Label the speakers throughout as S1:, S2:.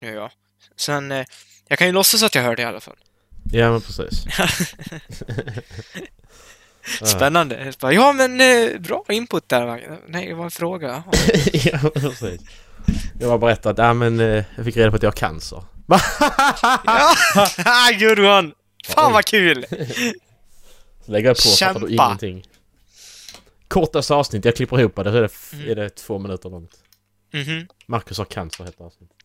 S1: nu ja. Sen, eh, jag kan ju låtsas att jag hör det i alla fall.
S2: Ja, men precis. Ja.
S1: Spännande. Jag bara, ja men eh, bra input där Magnus. Nej, det var en fråga. Ja.
S2: ja, precis. Jag bara berättat, ja men eh, jag fick reda på att jag har cancer. Va?
S1: Ja, good one! Fan vad kul!
S2: Så lägger jag på Kämpa. fattar du
S1: Kämpa.
S2: ingenting. Kortaste avsnitt, jag klipper ihop det. Så är det, f-
S1: Mm.
S2: är det två minuter långt.
S1: Mhm.
S2: Marcus har cancer heter avsnittet.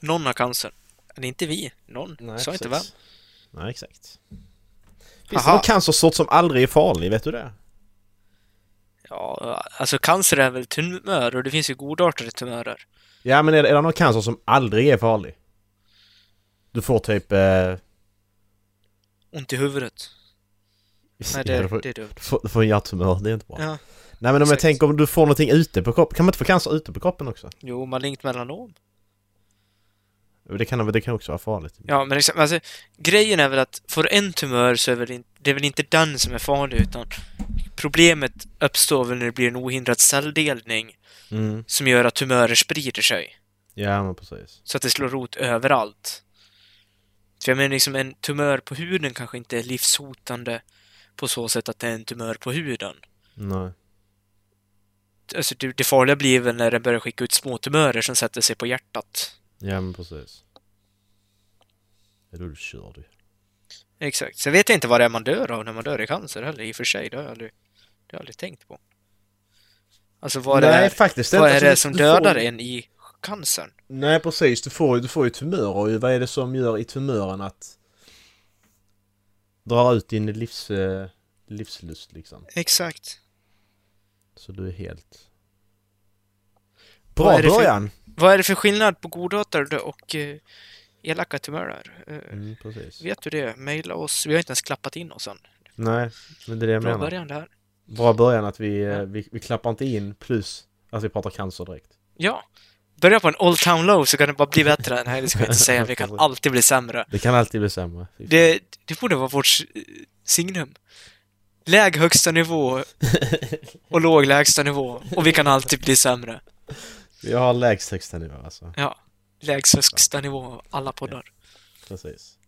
S1: Någon har cancer. Det är inte vi. Någon. Sa inte vem.
S2: Nej, exakt. Finns
S1: Aha.
S2: det någon cancersort som aldrig är farlig? Vet du det?
S1: Ja, alltså cancer är väl tumör och det finns ju godartade tumörer.
S2: Ja, men är det, är det någon cancer som aldrig är farlig? Du får typ... Eh,
S1: Ont i huvudet. Nej,
S2: du,
S1: det,
S2: får,
S1: det är dumt.
S2: du, får, du får en hjärttumör, det är inte bra.
S1: Ja.
S2: Nej, men om jag
S1: exakt.
S2: tänker om du får någonting ute på kroppen. Kan man inte få cancer ute på kroppen också?
S1: Jo, malignt melanom.
S2: Det kan, det kan också vara farligt.
S1: Ja, men liksom, alltså, grejen är väl att får du en tumör så är väl inte, det är väl inte den som är farlig utan problemet uppstår väl när det blir en ohindrad celldelning
S2: Mm.
S1: som gör att tumörer sprider sig.
S2: Ja, men precis.
S1: Så att det slår rot överallt. För jag menar liksom en tumör på huden kanske inte är livshotande på så sätt att det är en tumör på huden.
S2: Nej.
S1: Alltså det, det farliga blir väl när den börjar skicka ut små tumörer som sätter sig på hjärtat.
S2: Ja, men precis. Ja, då är du körd ju.
S1: Exakt. Sen vet jag inte vad det är man dör av när man dör i cancer heller i och för sig. Det har jag aldrig, det har jag aldrig tänkt på. Alltså vad det är,
S2: faktiskt
S1: vad är
S2: Alltså,
S1: det
S2: du-
S1: som
S2: du
S1: dödar
S2: får-
S1: en i cancern?
S2: Nej, precis. Du får, ju- du får ju tumörer. Och vad är det som gör i tumören att dra ut din livs, eh, livslust liksom?
S1: Exakt.
S2: Så du är helt...
S1: Vad
S2: Bra
S1: är det för-
S2: början!
S1: Vad är det för skillnad på godartade och eh, elaka tumörer? Eh,
S2: Mm, precis.
S1: vet du det? Maila oss. Vi har inte ens klappat in oss än.
S2: Nej, men det är det jag
S1: Bra
S2: menar.
S1: början där.
S2: Bra början att vi, eh,
S1: Ja.
S2: vi, vi klappar inte in plus att vi pratar cancer direkt.
S1: Ja. Börja på en Old Town Low så kan det bara bli bättre. Nej, det ska jag inte säga. Vi kan alltid bli sämre.
S2: Det kan alltid bli sämre. Fy fan.
S1: Det, det borde vara vårt eh, signum. Läg högsta nivå och låg lägsta nivå. Och vi kan alltid bli sämre.
S2: Vi har lägst högsta nivå alltså.
S1: Ja. Lägst högsta nivå av alla poddar.
S2: Precis.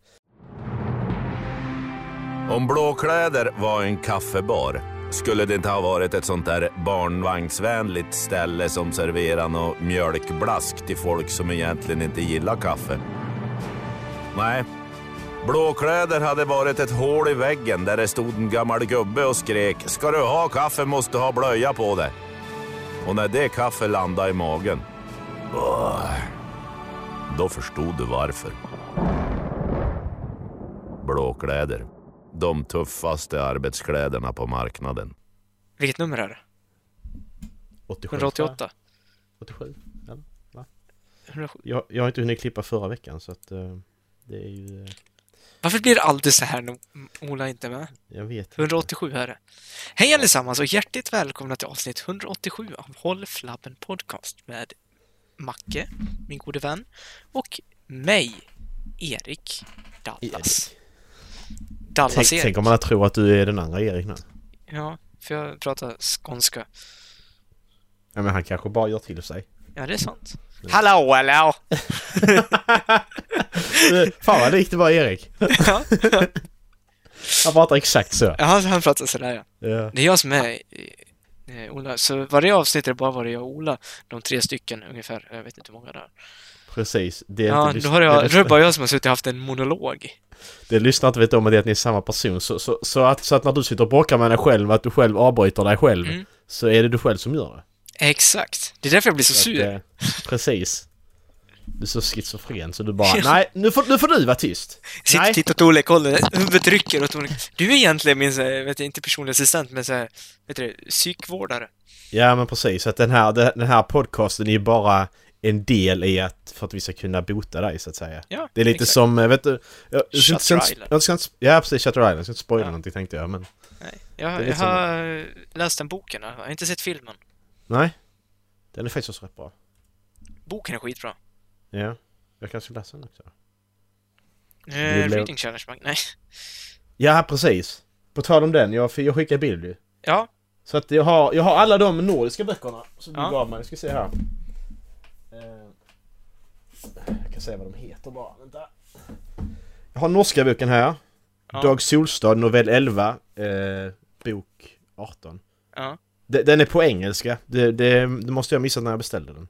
S3: Om Blåkläder var en kaffebar skulle det inte ha varit ett sånt där barnvagnsvänligt ställe som serverar något mjölkblask till folk som egentligen inte gillar kaffe. Nej, Blåkläder hade varit ett hål i väggen där det stod en gammal gubbe och skrek “Ska du ha kaffe måste du ha blöja på dig”. Och när det kaffe landade i magen, åh, då förstod du varför. Blåkläder. De tuffaste arbetskläderna på marknaden.
S1: Vilket nummer är det?
S2: 87.
S1: 188?
S2: 87. Eller?
S1: 107.
S2: Jag, jag har inte hunnit klippa förra veckan så att eh, det är ju... eh,
S1: Varför blir det alltid så här när Ola är inte är med?
S2: jag vet inte.
S1: 187 är det. Hej allesammans och hjärtligt välkomna till avsnitt 187 av Håll Flabben Podcast med Macke, min gode vän, och mig, Erik Dallas.
S2: Tänk,
S1: Dallas-Erik.
S2: tänk om alla tror att du är den andra Erik nu.
S1: Ja, för jag pratar skånska.
S2: Ja, men han kanske bara gör till sig.
S1: Ja, det är sant.
S2: Mm.
S1: Hallå, hallå!
S2: Eh, Fan vad likt det var Erik.
S1: ja,
S2: Han pratar exakt så.
S1: han, han pratar sådär ja.
S2: Ja.
S1: Det är jag som är eh, Ola. Så varje avsnitt är det bara var det jag och Ola. De tre stycken ungefär. Jag vet inte hur många det är.
S2: Precis. Det, är
S1: Ja,
S2: inte,
S1: då
S2: lys-
S1: har jag,
S2: det,
S1: då är det
S2: lyssnar,
S1: bara jag som har suttit och haft en monolog.
S2: det lyssnar inte vet om att det är att ni är samma person. Så, så, så, att, så att när du sitter och bråkar med dig själv, att du själv avbryter dig själv,
S1: Mm.
S2: så är det du själv som gör det.
S1: Exakt. Det är därför jag blir så
S2: Så att,
S1: sur.
S2: eh, precis. Du är så schizofren så du bara nej, nu får, nu får du vara tyst.
S1: Sitter
S2: nej.
S1: och tittar åt olika håll. Huvudet rycker åt olika... Du är egentligen min, så här, vet jag, inte personlig assistent, men så här, vet du det, psykvårdare.
S2: Ja men precis, att den här, den här podcasten är ju bara en del i att, för att vi ska kunna bota dig så att säga.
S1: Ja,
S2: det är lite
S1: exakt.
S2: som, eh, vet du... Jag, jag ska
S1: Shutter
S2: inte- ska inte-
S1: Island.
S2: Jag ska inte, ja precis, Shutter Island. Jag ska inte spoila
S1: Ja.
S2: någonting tänkte jag men...
S1: Nej,
S2: Det
S1: jag,
S2: är
S1: jag
S2: lite som-
S1: har eh, läst den boken. Jag har inte sett filmen.
S2: Nej. Den är faktiskt också rätt bra.
S1: Boken är skitbra.
S2: Ja. Jag kanske läser den också.
S1: Eh,
S2: Vill jag-
S1: reading challenge, Mag- nej.
S2: Ja precis. På tal om den, jag, jag skickar bild ju.
S1: Ja,
S2: Så att jag har, jag har alla de nordiska böckerna som du
S1: Ja.
S2: gav mig. Jag ska se här. Eh, Jag kan säga vad de heter bara. Vänta. Jag har norska boken här.
S1: Ja.
S2: Dag Solstad, novell 11, eh, bok 18.
S1: Ja.
S2: De- Den är på engelska. Det, det, det måste jag ha missat när jag beställde den.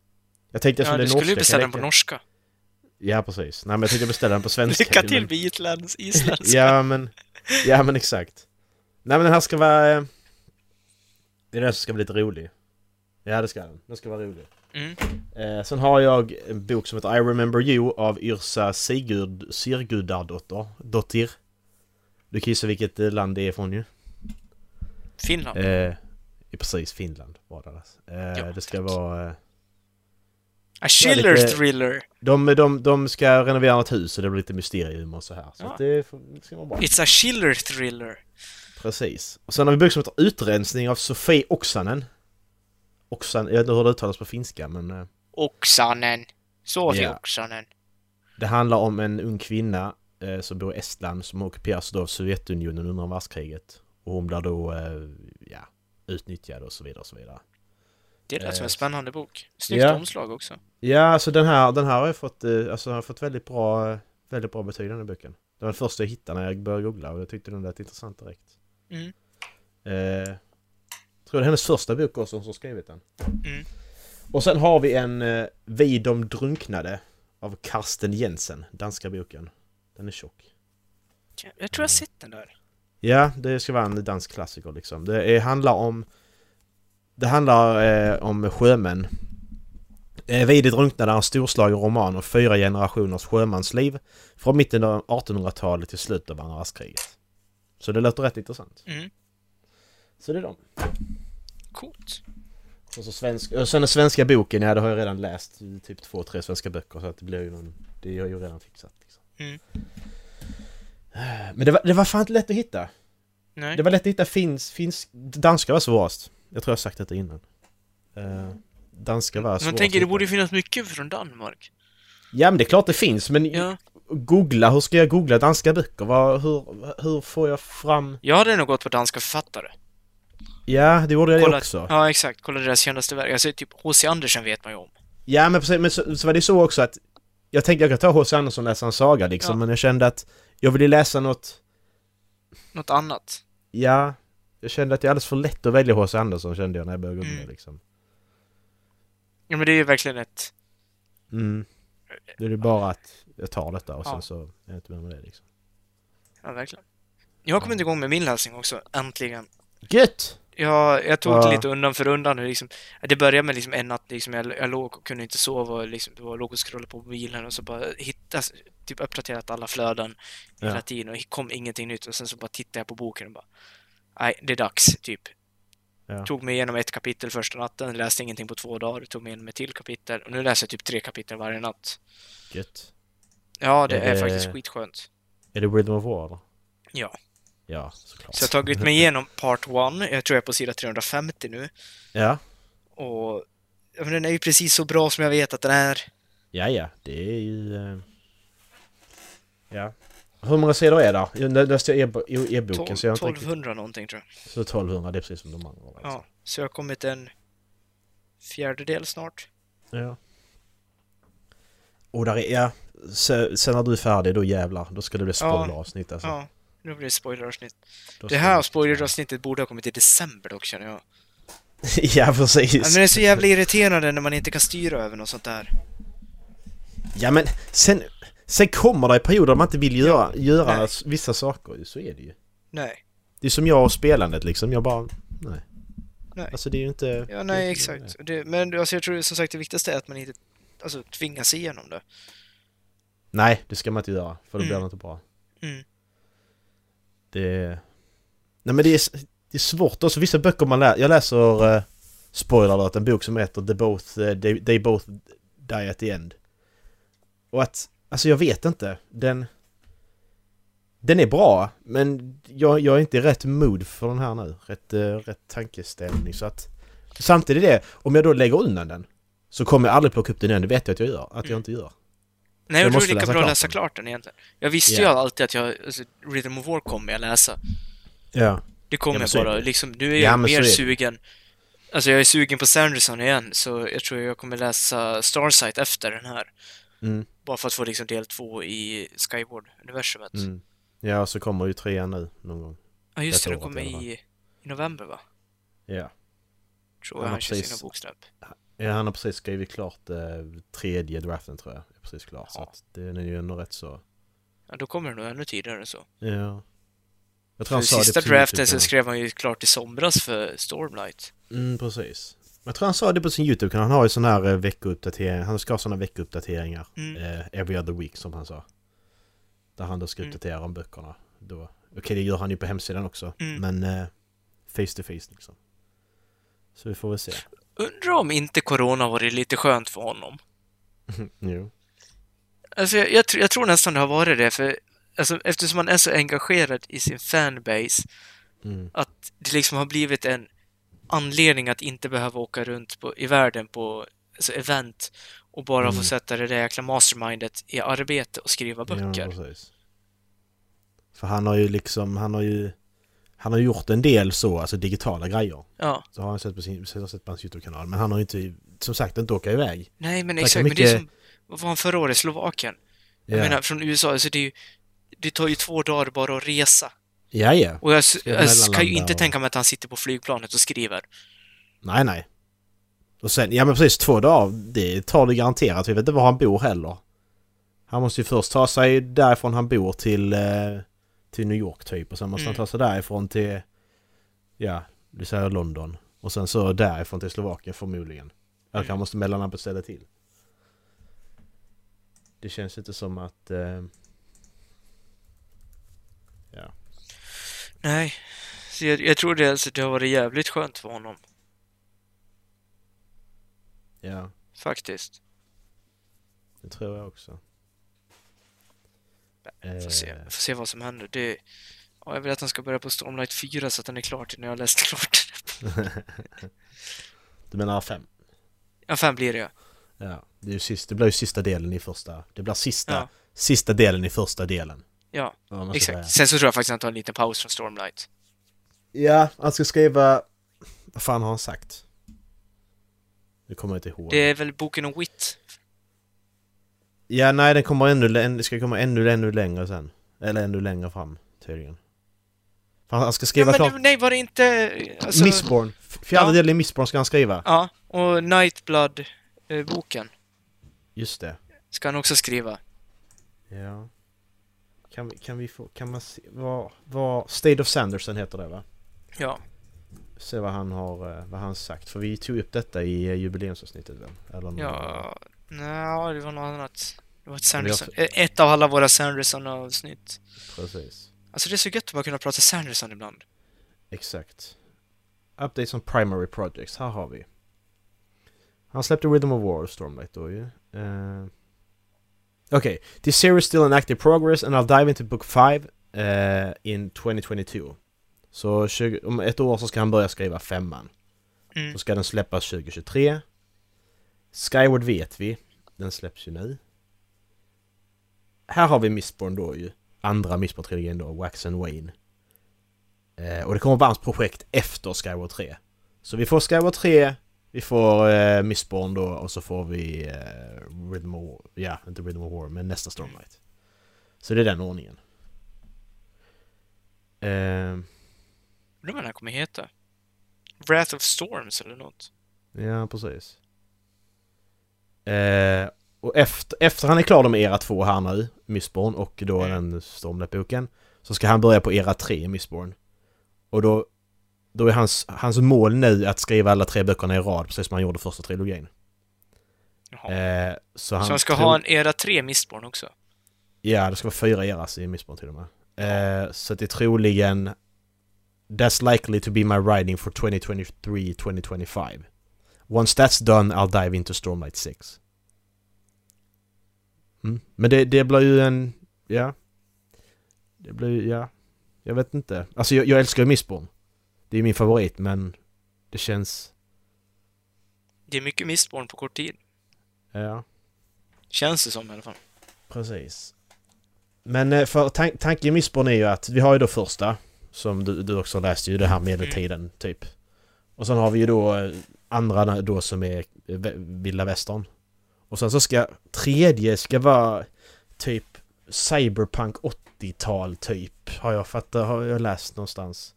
S2: Jag tänkte jag
S1: ja,
S2: skulle
S1: du
S2: norska,
S1: skulle ju
S2: kan
S1: beställa den
S2: räcka.
S1: på norska.
S2: Ja, precis. Nej, men jag tänkte beställa den på svenska.
S1: Lycka
S2: men-
S1: till med isländsk, isländska.
S2: Ja men, ja men exakt. Nej men den här ska vara... eh, Det är den som ska bli lite rolig. Ja det ska den. Den ska vara rolig.
S1: Mm.
S2: Eh, sen har jag en bok som heter I Remember You av Yrsa Sigurd Sigurdardottir. Dottir. Du kan gissa vilket eh, land det är från ju.
S1: Finland.
S2: Eh, i precis, Finland var det. alltså. Eh,
S1: Ja,
S2: det ska vara... eh,
S1: A Schiller
S2: lite-
S1: thriller.
S2: De, de, de ska renovera ett hus och det blir lite mysterium och så här. Så
S1: Ja.
S2: att det får- det ska vara bra.
S1: It's a Schiller thriller.
S2: Precis. Och sen har vi en bok som heter Utrensning av Sofie Oksanen. Oksan, jag vet inte hur det uttalas på finska men eh,
S1: Oksanen. Sofie
S2: Ja.
S1: Oksanen.
S2: det handlar om en ung kvinna eh, som bor i Estland som ockuperas då av Sovjetunionen under världskriget. Och hon blir då, eh, ja, utnyttjad och så vidare och så vidare.
S1: Det lät som
S2: Eh,
S1: en spännande bok. Snyggt
S2: ja.
S1: omslag också.
S2: Ja, alltså den här, den här har jag fått, eh, alltså har fått väldigt bra, eh, väldigt bra betyg den här boken. Det var den första jag hittade när jag började googla och jag tyckte den lät intressant direkt.
S1: Mm.
S2: Eh, tror det är hennes första bok också hon som skrivit den.
S1: Mm.
S2: Och sen har vi en eh, Vi de drunknade av Karsten Jensen, danska boken. Den är tjock.
S1: Jag tror jag har sett den där.
S2: Ja, det ska vara en dansk klassiker liksom. Det är, handlar om... Det handlar eh, om sjömän. Eh, Vide drunknade är en storslagen roman om fyra generationers sjömansliv från mitten av 1800-talet till slutet av andra världskriget. Så det låter rätt intressant.
S1: Mm.
S2: Så det är dem.
S1: Coolt.
S2: Och, så svensk, och sen den svenska boken, ja det har jag redan läst i typ två, tre svenska böcker så att det blir ju någon, det har jag ju redan fixat. Liksom. Eh,
S1: Mm.
S2: Men det var, det var fan inte lätt att hitta.
S1: Nej.
S2: Det var lätt att hitta finns, finns, danska var svårast. Jag tror jag har sagt detta innan. Uh, danska var svårast.
S1: Man
S2: att
S1: tänker det
S2: hitta.
S1: borde ju finnas mycket från Danmark.
S2: Ja men det är klart det finns men
S1: Ja.
S2: googla, hur ska jag googla danska böcker? Vad, hur, hur får jag fram...
S1: Jag hade nog gått på danska författare.
S2: Ja, det gjorde jag det
S1: Kolla-
S2: också.
S1: Ja, exakt. Kolla deras kändaste verk. Alltså, typ H.C. Andersen vet man ju om.
S2: Ja men precis, men så, så var det så också att jag tänkte jag kan ta H.C. Andersson och läsa en saga liksom
S1: Ja.
S2: men jag kände att jag ville läsa något,
S1: Något annat.
S2: ja, jag kände att det är alldeles för lätt att välja H.C. Andersson kände jag när jag började googla
S1: Mm.
S2: liksom.
S1: Ja, men det är ju verkligen ett...
S2: Mm. Det är ju bara att jag tar detta och sen
S1: Ja.
S2: så är jag inte med med det liksom.
S1: Ja, verkligen. Jag har kommit igång med min läsning också, äntligen.
S2: Gött!
S1: Jag, jag tog det
S2: Ja.
S1: lite undan för undan. hur Liksom, det började med liksom en natt liksom, jag, jag låg och kunde inte sova. Och liksom, det var, låg och scrollade på mobilen och så bara hittas, typ uppdaterat alla flöden hela
S2: Ja.
S1: tiden och kom ingenting nytt. Och sen så bara tittade jag på boken och bara Nej, det är dags, typ.
S2: Ja.
S1: Tog mig igenom ett kapitel första natten, läste ingenting på två dagar, tog mig igenom ett till kapitel. Och nu läser jag typ tre kapitel varje natt.
S2: Gött.
S1: Ja, det
S2: Är
S1: är
S2: det-
S1: faktiskt skitskönt.
S2: Är det Rhythm of War då?
S1: Ja.
S2: Ja, såklart.
S1: Så jag har tagit mig igenom part one. Jag tror jag är på sida 350 nu.
S2: Ja.
S1: Och ja, men den är ju precis så bra som jag vet att den är.
S2: Ja, ja, det är ju... eh, Ja. Hur många sidor är det? Jo, Nu läste jag e- e- e-boken så jag har inte riktigt... Alltså.
S1: 1200 någonting tror jag.
S2: Så 1200, det är precis som de andra. var,
S1: Ja, så jag har kommit en fjärdedel snart.
S2: Ja. Och där är, ja. Se- Sen när du är färdig, då jävlar. Då ska det bli spoileravsnitt alltså.
S1: Ja, nu blir det spoileravsnitt.
S2: Då
S1: Det
S2: ska
S1: här spoileravsnittet borde ha kommit i december dock känner jag.
S2: ja,
S1: Ja,
S2: precis.
S1: Men det är så jävla irriterande när man inte kan styra över något sånt där.
S2: Ja, men sen... Sen kommer det perioder där man inte vill göra, göra
S1: Nej.
S2: s- vissa saker ju. Så är det ju.
S1: Nej.
S2: Det är som jag och spelandet liksom. Jag bara... Nej.
S1: Nej.
S2: Alltså det är ju inte...
S1: Ja, nej,
S2: det är inte-
S1: exakt. Det, men alltså, jag tror som sagt det viktigaste är att man inte alltså, tvingas igenom det.
S2: Nej, det ska man inte göra. För då blir
S1: Mm.
S2: det inte bra.
S1: Mm.
S2: Det... Nej men det är, det är svårt också. Vissa böcker man läser... Jag läser... Uh, spoiler alert, en bok som heter The Both... eh, they, they Both Die At The End. Och att... Alltså jag vet inte. Den... Den är bra, men jag, jag är inte i rätt mood för den här nu. Rätt, eh, rätt tankeställning. Så att... Samtidigt är det, om jag då lägger undan den så kommer jag aldrig plocka upp den igen. Det vet jag att jag gör. Att
S1: Mm.
S2: jag inte gör.
S1: Nej,
S2: Jag
S1: jag tror det
S2: måste
S1: är lika
S2: läsa
S1: bra att
S2: klart
S1: läsa
S2: den.
S1: klart den egentligen. Jag visste
S2: Ja.
S1: ju alltid att jag, alltså, Rhythm of War kommer jag läsa.
S2: Ja.
S1: Det kommer
S2: Ja, men
S1: jag
S2: så är
S1: bara,
S2: det.
S1: liksom, nu är
S2: Ja,
S1: jag
S2: men så
S1: mer
S2: är det.
S1: sugen. Alltså jag är sugen på Sanderson igen, så jag tror jag kommer läsa Starsight efter den här.
S2: Mm.
S1: Bara för att få liksom del två i Skyward-universumet.
S2: Mm. Ja, så kommer ju trean nu någon gång.
S1: Ja just det,
S2: Detta
S1: den
S2: året
S1: kommer
S2: i alla fall.
S1: i, i november va?
S2: Ja.
S1: Tror
S2: Ja,
S1: jag han kör
S2: precis.
S1: sina boksläpp.
S2: ja han har precis skrivit klart eh, tredje draften tror jag. Är precis klar. Så
S1: Ja.
S2: att den är ju ändå rätt så...
S1: Ja, då kommer det nog ännu tidigare än så.
S2: Ja. Jag tror
S1: För
S2: han sa det
S1: sista
S2: på
S1: draften
S2: YouTube,
S1: så
S2: ja.
S1: skrev han ju klart i somras för Stormlight.
S2: Mm, precis. Jag tror han sa det på sin YouTube-kanal. Han har ju sån här eh, veckouppdatering. Han ska ha såna veckouppdateringar.
S1: Mm.
S2: Eh, every other week som han sa. Där han då ska
S1: Mm.
S2: uppdatera om böckerna. Då. Okej, det gör han ju på hemsidan också.
S1: Mm.
S2: Men eh, face to face liksom. Så vi får väl se.
S1: Undrar om inte corona varit lite skönt för honom.
S2: jo.
S1: Alltså jag, jag, tr- jag tror nästan det har varit det, för alltså, eftersom man är så engagerad i sin fanbase
S2: Mm.
S1: att det liksom har blivit en anledning att inte behöva åka runt på, i världen på alltså event och bara få
S2: Mm.
S1: sätta det där jäkla mastermindet i arbete och skriva
S2: Ja,
S1: böcker.
S2: precis. För han har ju liksom, han har ju... Han har gjort en del så, alltså digitala grejer.
S1: Ja.
S2: Så har han sett på sin, jag har sett på hans YouTube-kanal. Men han har ju inte, som sagt, inte åka iväg.
S1: Nej, men
S2: Tackar
S1: exakt. Men det är
S2: mycket.
S1: som, vad var han förra året? Slovakien?
S2: Ja.
S1: Jag menar, från USA, så det, är ju, det tar ju två dagar bara att resa.
S2: Ja, ja.
S1: Och jag, s-
S2: Ska
S1: jag s- kan ju
S2: mellanlanda
S1: inte
S2: och-
S1: tänka mig att han sitter på flygplanet och skriver.
S2: Nej, nej. Och sen, ja men precis, två dagar, det tar det garanterat. Vi vet inte var han bor heller. Han måste ju först ta sig därifrån han bor till, eh, till New York typ. Och sen måste
S1: Mm.
S2: han ta sig därifrån till, ja, vi säger London. Och sen så därifrån till Slovakien förmodligen. Eller
S1: Mm.
S2: han måste mellanlanda på ett ställe till. Det känns inte som att... Eh, ja.
S1: Nej. Så jag, jag tror det, alltså, det har varit jävligt skönt för honom,
S2: Ja.
S1: faktiskt.
S2: Det tror jag också. Eh,
S1: Får se, får se vad som händer. Det, ja, jag vill att han ska börja på Stormlight 4 så att den är klar till när jag har läst klart den.
S2: Du menar fem?
S1: Ja, fan blir det ja.
S2: Ja, det, är ju sist, det blir ju sista delen i första... Det blir sista,
S1: Ja.
S2: sista delen i första delen.
S1: Ja,
S2: vad man ska
S1: exakt.
S2: säga.
S1: Sen så tror jag faktiskt att han tar en liten paus från Stormlight.
S2: Ja, han ska skriva... Vad fan har han sagt? Det kommer jag inte ihåg.
S1: Det är väl boken om Wit?
S2: Ja, nej, den kommer ännu, lä- det ska komma ännu, ännu längre sen. Eller ännu längre fram, tydligen. Fan, han ska
S1: Ja,
S2: skriva
S1: men
S2: klart...
S1: det- nej, var det inte... Alltså,
S2: Missborn! F- Fjärde
S1: Ja.
S2: delen i Missborn ska han skriva.
S1: Ja, och Nightblood-boken
S2: Just det.
S1: ska han också skriva.
S2: Ja. Kan, vi- kan vi få... Kan man se... Vad... vad State of Sanderson heter det, va?
S1: Ja.
S2: se vad han har eh, vad han sagt. För vi tog upp detta i eh, jubileumsavsnittet väl? Eller någon-
S1: Ja, nej, det var något annat. Det var ett
S2: Men jag-
S1: Sanderson. eh, Ett av alla våra Sanderson-avsnitt.
S2: Precis.
S1: Alltså det är så gött att bara kunna prata Sanderson ibland.
S2: Exakt. Updates on primary projects. Här har vi. Han släppte Rhythm of War och Stormlight då ju. Eh, Okej. This series is still in active progress and I'll dive into book 5 eh, in 2022. Så 20, om ett år så ska han börja skriva femman.
S1: Mm.
S2: Så ska den släppas 2023. Skyward vet vi. Den släpps ju nu. Här har vi Mistborn då ju. Andra Mistborn-trilogin då, Wax and Wayne. Eh, och det kommer vara hans projekt efter Skyward 3. Så vi får Skyward 3, vi får eh, Mistborn då och så får vi eh, Rhythm of War. Ja, inte Rhythm of War, men nästa Stormlight. Så det är den ordningen. Eh,
S1: Undrar vad den här kommer heta? Wrath of Storms eller något?
S2: Ja, precis. Eh, och efter, efter han är klar då med era två här nu, Missborn och då
S1: Mm.
S2: den Stormlight-boken, så ska han börja på era tre Missborn. Och då, då är hans, hans mål nu att skriva alla tre böckerna i rad, precis som han gjorde första trilogin.
S1: Jaha.
S2: Eh, så han
S1: så han ska
S2: tror-
S1: ha en era 3 Mistborn också?
S2: Ja, det ska vara fyra eras i Missborn till och med. Eh, så att det är troligen That's likely to be my writing for 2023-2025. Once that's done I'll dive into Stormlight 6. Mm. Men det, det blir ju en... Ja. Det blir ju... Ja. Jag vet inte. Alltså jag, jag älskar ju Missborn. Det är ju min favorit men det känns...
S1: Det är mycket Mistborn på kort tid.
S2: Ja.
S1: Känns det som i alla fall.
S2: Precis. Men eh, för tan- tanken i Missborn är ju att vi har ju då första som du, du också läste ju det här medeltiden typ. Och sen har vi ju då eh, andra då som är eh, vä- vilda västern. Och sen så ska tredje ska vara typ cyberpunk 80-tal typ. Har jag fattat, har jag läst någonstans.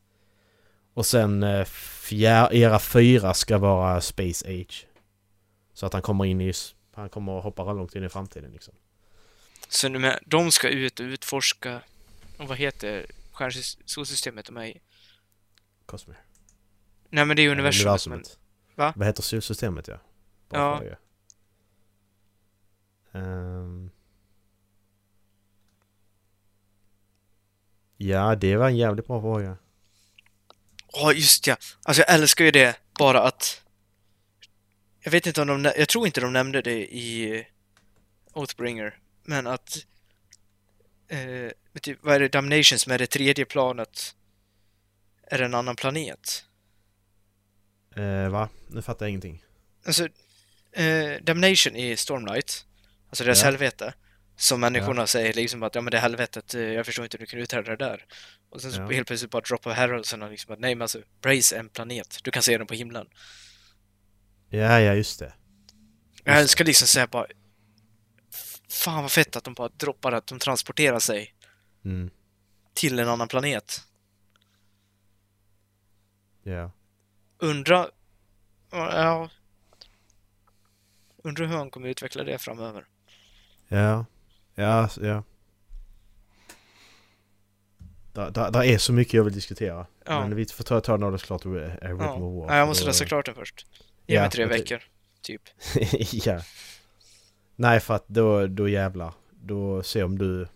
S2: Och sen eh, fjär, era fyra ska vara Space Age. Så att han kommer in i, s- han kommer att hoppa långt in i framtiden liksom.
S1: Så nu med, de ska ut och utforska, och vad heter stjärnsys- solsystemet de är i?
S2: Cosmere.
S1: Nej men det är alltså universum. Men,
S2: Universumet.
S1: Va?
S2: Vad heter solsystemet ja?
S1: Ja.
S2: fråga. Ehm. Ja, det var en jävligt bra fråga.
S1: Ja, just ja. Alltså jag älskar ju det, bara att... Jag vet inte om de... nä- Jag tror inte de nämnde det i Oathbringer, men att... Eh, men typ, vad är det? Damnation som är det tredje planet är en annan planet.
S2: Eh, va? Nu fattar jag ingenting.
S1: Alltså, eh, Damnation i Stormlight, alltså deras
S2: Ja.
S1: helvete, som människorna säger liksom att ja men det helvetet, eh, jag förstår inte hur du kan uthärda det där. Och sen så
S2: Ja.
S1: helt plötsligt bara droppar Haraldsen och liksom att nej men alltså, Brace är en planet, du kan se den på himlen.
S2: Ja, ja, just det.
S1: Jag älskar liksom säga bara... Fan vad fett att de bara droppar att de transporterar sig
S2: Mm,
S1: till en annan planet.
S2: ja.
S1: Undra... Ja... Undra hur han kommer utveckla det framöver.
S2: Ja. Ja, s- ja. Där, där, där är så mycket jag vill diskutera.
S1: Ja.
S2: Men vi får ta, ta när det är klart är är Rhythm
S1: Ja.
S2: of War.
S1: Nej, jag måste
S2: för-
S1: läsa klart den först. Ge mig
S2: Ja,
S1: tre
S2: jag ty-
S1: veckor, typ.
S2: ja. Nej, för att då, då jävlar. Då se om du...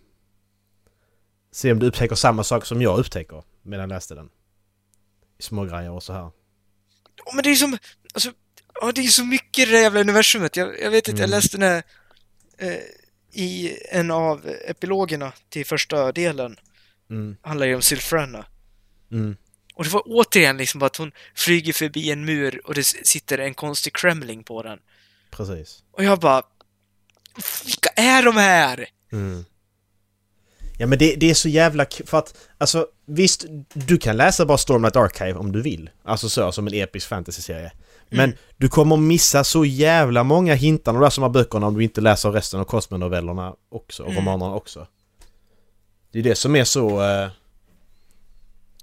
S2: Se om du upptäcker samma sak som jag upptäcker medan jag läste den. Små grejer och så här.
S1: Åh, men det är som... Alltså, ja, det är så mycket i det jävla universumet. Jag, jag vet inte, jag
S2: Mm.
S1: läste den här... Eh, I en av epilogerna till första delen.
S2: Mm,
S1: Handlar ju om Sylfrana.
S2: mm,
S1: Och det var återigen liksom bara att hon flyger förbi en mur och det s- sitter en konstig kremling på den.
S2: precis.
S1: Och jag bara... Vilka är de här?
S2: Mm. Ja men det, det är så jävla k- för att alltså visst, du kan läsa bara Stormlight Archive om du vill. Alltså så som en episk fantasyserie. Men
S1: Mm.
S2: du kommer missa så jävla många hintar och läser de här böckerna om du inte läser resten av Cosmo-novellerna också, och
S1: Mm.
S2: romanerna också. Det är det som är så... Eh, det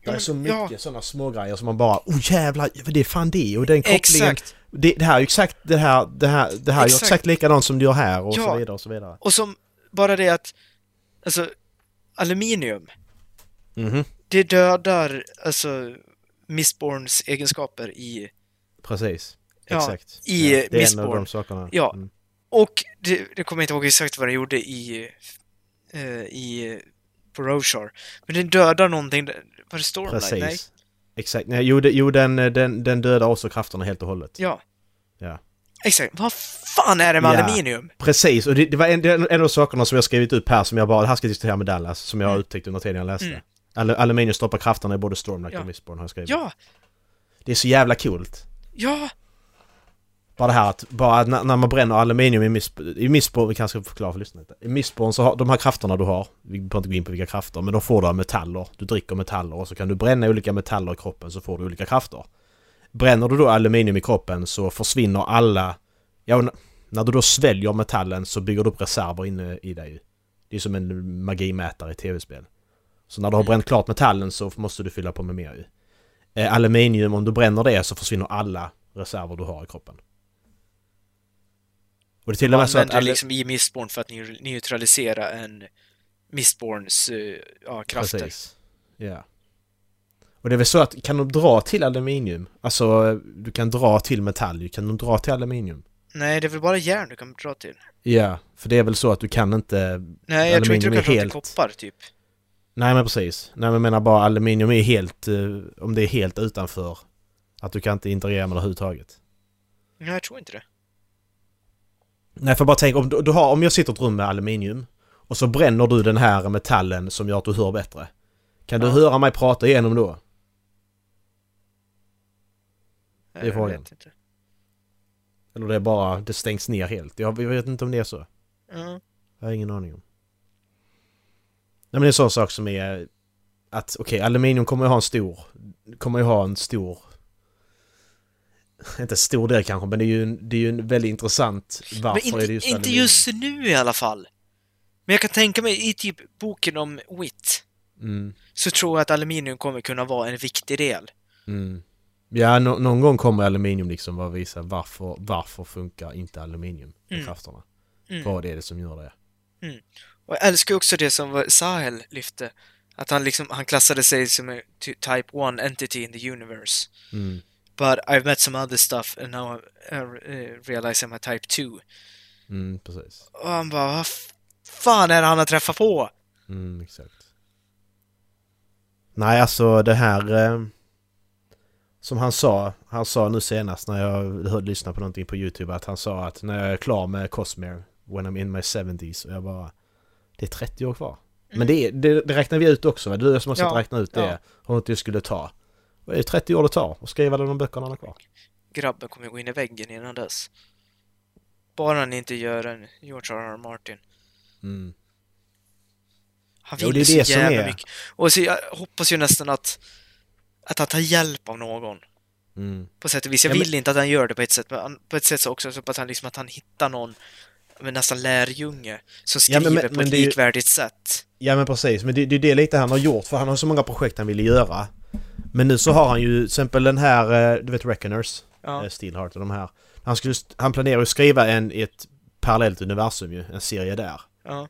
S2: är
S1: men-
S2: så
S1: ja.
S2: mycket sådana små grejer som man bara oh jävlar, ja, det är fan det och den kopplingen.
S1: Exakt.
S2: Det, det här är ju exakt det här, det här, det här är ju
S1: Exakt.
S2: exakt likadant som du gör här och
S1: Ja.
S2: så vidare och så vidare.
S1: Och som bara det att... Alltså, aluminium.
S2: Mhm,
S1: Det dödar alltså Mistborns egenskaper i...
S2: precis.
S1: Ja,
S2: exakt.
S1: i
S2: det är en av
S1: Mistborn.
S2: de sakerna.
S1: Ja.
S2: Mm.
S1: Och det, det kommer jag inte ihåg exakt vad det gjorde i... Eh, I... På Roshar. Men den dödar någonting. där- Var det Stormlight?
S2: Precis.
S1: Nej.
S2: Exakt. Nej, jo, det, jo den, den, den dödar också krafterna helt och hållet.
S1: Ja.
S2: Ja.
S1: Exakt. Vad fan är det med
S2: Ja.
S1: aluminium?
S2: Precis, och det, det var en, det är en av sakerna som jag skrivit upp här som jag bara, det här ska jag diskutera med Dallas, som jag
S1: Mm.
S2: upptäckte under tiden jag läste.
S1: Mm.
S2: Al- aluminium stoppar krafterna i både Stormlight
S1: Ja.
S2: och Mistborn har jag skrivit.
S1: Ja,
S2: Det är så jävla coolt.
S1: ja,
S2: Bara det här att, bara att när, när man bränner aluminium i, Mist, i Mistborn, vi kanske ska förklara för lyssnarna lite. I Mistborn så har de här krafterna du har, vi behöver inte gå in på vilka krafter, men de får du av metaller. Du dricker metaller och så kan du bränna olika metaller i kroppen så får du olika krafter. Bränner du då aluminium i kroppen så försvinner alla... Ja, och n- när du då sväljer metallen så bygger du upp reserver inne i dig. ju. Det är som en magimätare i tv-spel. Så när du har
S1: Mm.
S2: bränt klart metallen så måste du fylla på med mer ju. Eh, aluminium, om du bränner det så försvinner alla reserver du har i kroppen. Och det är till och
S1: Man
S2: med så att...
S1: använder det
S2: Alle...
S1: liksom i Mistborn för att neu- neutralisera en Mistborns eh, ja, krafter.
S2: Precis. Ja. Och det är väl så att kan de dra till aluminium? Alltså, du kan dra till metall ju. Kan de dra till aluminium?
S1: Nej, det är väl bara järn du kan dra till?
S2: Ja, för det är väl så att du kan inte...
S1: Nej, jag tror inte du
S2: Aluminium
S1: kan dra
S2: är
S1: till
S2: helt-
S1: koppar, typ.
S2: Nej men precis. Nej men jag menar bara aluminium är helt... eh, Om det är helt utanför. Att du kan inte interagera med det överhuvudtaget.
S1: Nej, jag tror inte det.
S2: Nej för bara tänk om du, du har... Om jag sitter i ett rum med aluminium. Och så bränner du den här metallen som gör att du hör bättre. Kan du
S1: Ja.
S2: höra mig prata igenom då?
S1: Nej,
S2: är
S1: jag
S2: frågan.
S1: vet inte.
S2: Eller det är bara... Det stängs ner helt. Jag, jag vet inte om det är så.
S1: Ja.
S2: Jag har ingen aning om. Nej men det är en sån sak som är att okej, aluminium kommer ju ha en stor, kommer ju ha en stor inte stor del kanske, men det är ju en, det är ju en väldigt intressant varför
S1: Men inte,
S2: är det just
S1: inte
S2: aluminium?
S1: just nu i alla fall. Men jag kan tänka mig i typ boken om Witt
S2: Mm,
S1: så tror jag att aluminium kommer kunna vara en viktig del.
S2: mm. Ja, nå- någon gång kommer aluminium liksom vara visa varför, varför funkar inte aluminium i
S1: Mm.
S2: krafterna?
S1: Mm.
S2: Vad är det som gör det?
S1: Och jag älskar också det som var- Sahel lyfte. Att han liksom, han klassade sig som en ty- type 1 entity in the universe.
S2: Mm.
S1: But I've met some other stuff and now I uh, realize I'm a type 2.
S2: Mm, precis.
S1: Och han bara, vad f- fan är det han har träffat på?
S2: Mm, exakt. Nej, alltså det här... Eh, som han sa, han sa nu senast när jag hörde lyssna på någonting på YouTube att han sa att när jag är klar med Cosmere, when I'm in my 70s, och jag bara... Det är 30 år kvar. Men det, är- det, det räknar vi ut också va? Du som har sett
S1: Mm. Ja,
S2: räkna ut det,
S1: ja.
S2: hur långt det skulle ta. Det är 30 år det tar och skriva alla de böckerna han har kvar.
S1: Grabben kommer gå in i väggen innan dess. Bara han inte gör en George R.R. Martin.
S2: Mm.
S1: Han
S2: Jo,
S1: vill
S2: det är
S1: så
S2: det som
S1: jävla
S2: är.
S1: mycket. Och så jag hoppas ju nästan att, att han tar hjälp av någon.
S2: Mm.
S1: På sätt och vis. Jag
S2: Ja, men-
S1: vill inte att han gör det på ett sätt, men han, på ett sätt så också så att han, liksom, att han hittar någon, men nästan lärjunge, som
S2: Ja,
S1: skriver
S2: men- men-
S1: på
S2: men
S1: ett
S2: det är ju-
S1: likvärdigt sätt.
S2: Ja men precis, men det, det är det lite han har gjort för han har så många projekt han ville göra. Men nu så har han ju till exempel den här, eh, du vet Reckoners,
S1: Ja.
S2: eh, Steelheart och de här. Han, skulle, han planerar att skriva en i ett parallellt universum ju, en serie där.
S1: Ja.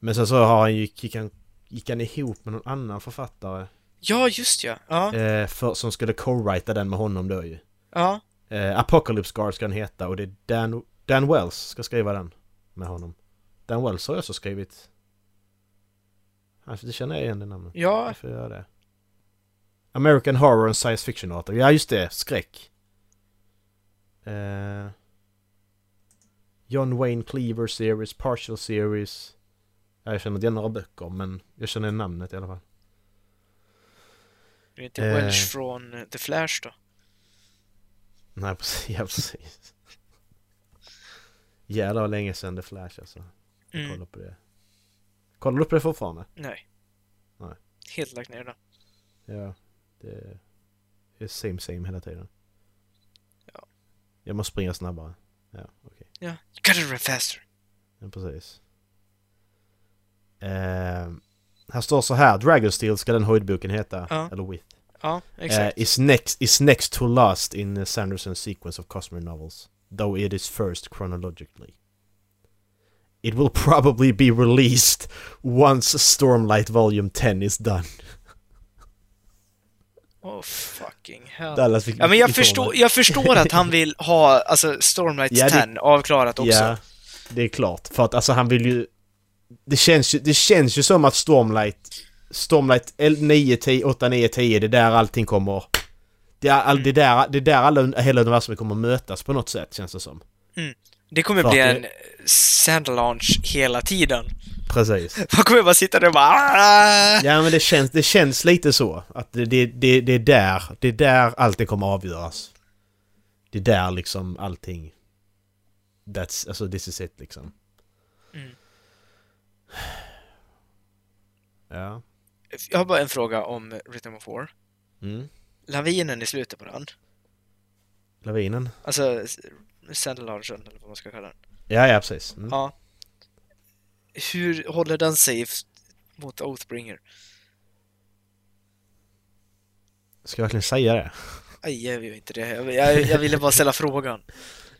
S2: Men sen så har han ju, gick, han, gick han ihop med någon annan författare
S1: ja, just ja. Ja.
S2: eh, för, som skulle co-writa den med honom då ju.
S1: ja.
S2: Eh, Apocalypse Guard ska den heta och det är Dan, Dan Wells ska skriva den med honom. Dan Wells har ju också skrivit... Alltså, det känner jag igen det namnet.
S1: Ja,
S2: Varför gör jag det? American Horror and Science Fiction Author. Ja, just det. Skräck. Eh, John Wayne Cleaver Series, Partial Series. Ja, jag känner inte igen några böcker, men jag känner igen namnet i alla fall.
S1: det är inte
S2: Eh.
S1: Welsh från eh, The Flash då.
S2: Nej, precis. Ja, precis. Jävlar vad länge sedan The Flash alltså. Jag
S1: Mm.
S2: kollar på det. Kollar du på det fortfarande?
S1: Nej.
S2: Nej.
S1: Helt lagt ner den.
S2: Ja. Det är same same hela tiden.
S1: Ja.
S2: Jag måste springa snabbare. Ja, okej.
S1: Ja. You gotta run faster.
S2: Ja, precis. Eh, här står så här, Dragonsteel ska den höjdboken heta,
S1: Ja,
S2: eller with.
S1: Ja, exakt.
S2: Eh, is, next, is next to last in eh, Sanderson's sequence of Cosmere novels, though it is first chronologically. It will probably be released once Stormlight Volume 10 is done.
S1: Oh fucking hell.
S2: Dallas fick
S1: Ja, men jag
S2: informa-
S1: förstår, jag förstår att han vill ha alltså, Stormlight
S2: Ja, det-
S1: 10 avklarat också.
S2: Ja, det är klart. För att alltså han vill ju... Det känns ju, det känns ju som att Stormlight... Stormlight L- 9, 10, 8, 9, 10, det är där allting kommer... Det är, all, det
S1: Mm.
S2: är där, det är där alla, hela universum kommer mötas på något sätt, känns det som.
S1: Det kommer
S2: För
S1: bli
S2: att
S1: en sandalaunch hela tiden.
S2: Precis.
S1: Man kommer bara sitta där och bara... "Ah!"
S2: Ja, men det känns, det känns lite så. Att det, det, det, det är där, det är där allting kommer avgöras. Det är där liksom allting... That's, alltså this is it liksom.
S1: Mm.
S2: Ja.
S1: Jag har bara en fråga om Rhythm of War.
S2: Mm.
S1: Lavinen i slutet på den.
S2: Lavinen.
S1: Alltså sandalaunchen, eller vad man ska kalla den.
S2: Ja, ja precis. Mm.
S1: Ja. Hur håller den sig f- mot Oathbringer?
S2: Ska jag verkligen säga det?
S1: Aj, jag gör inte det. Jag, jag, jag ville bara ställa frågan.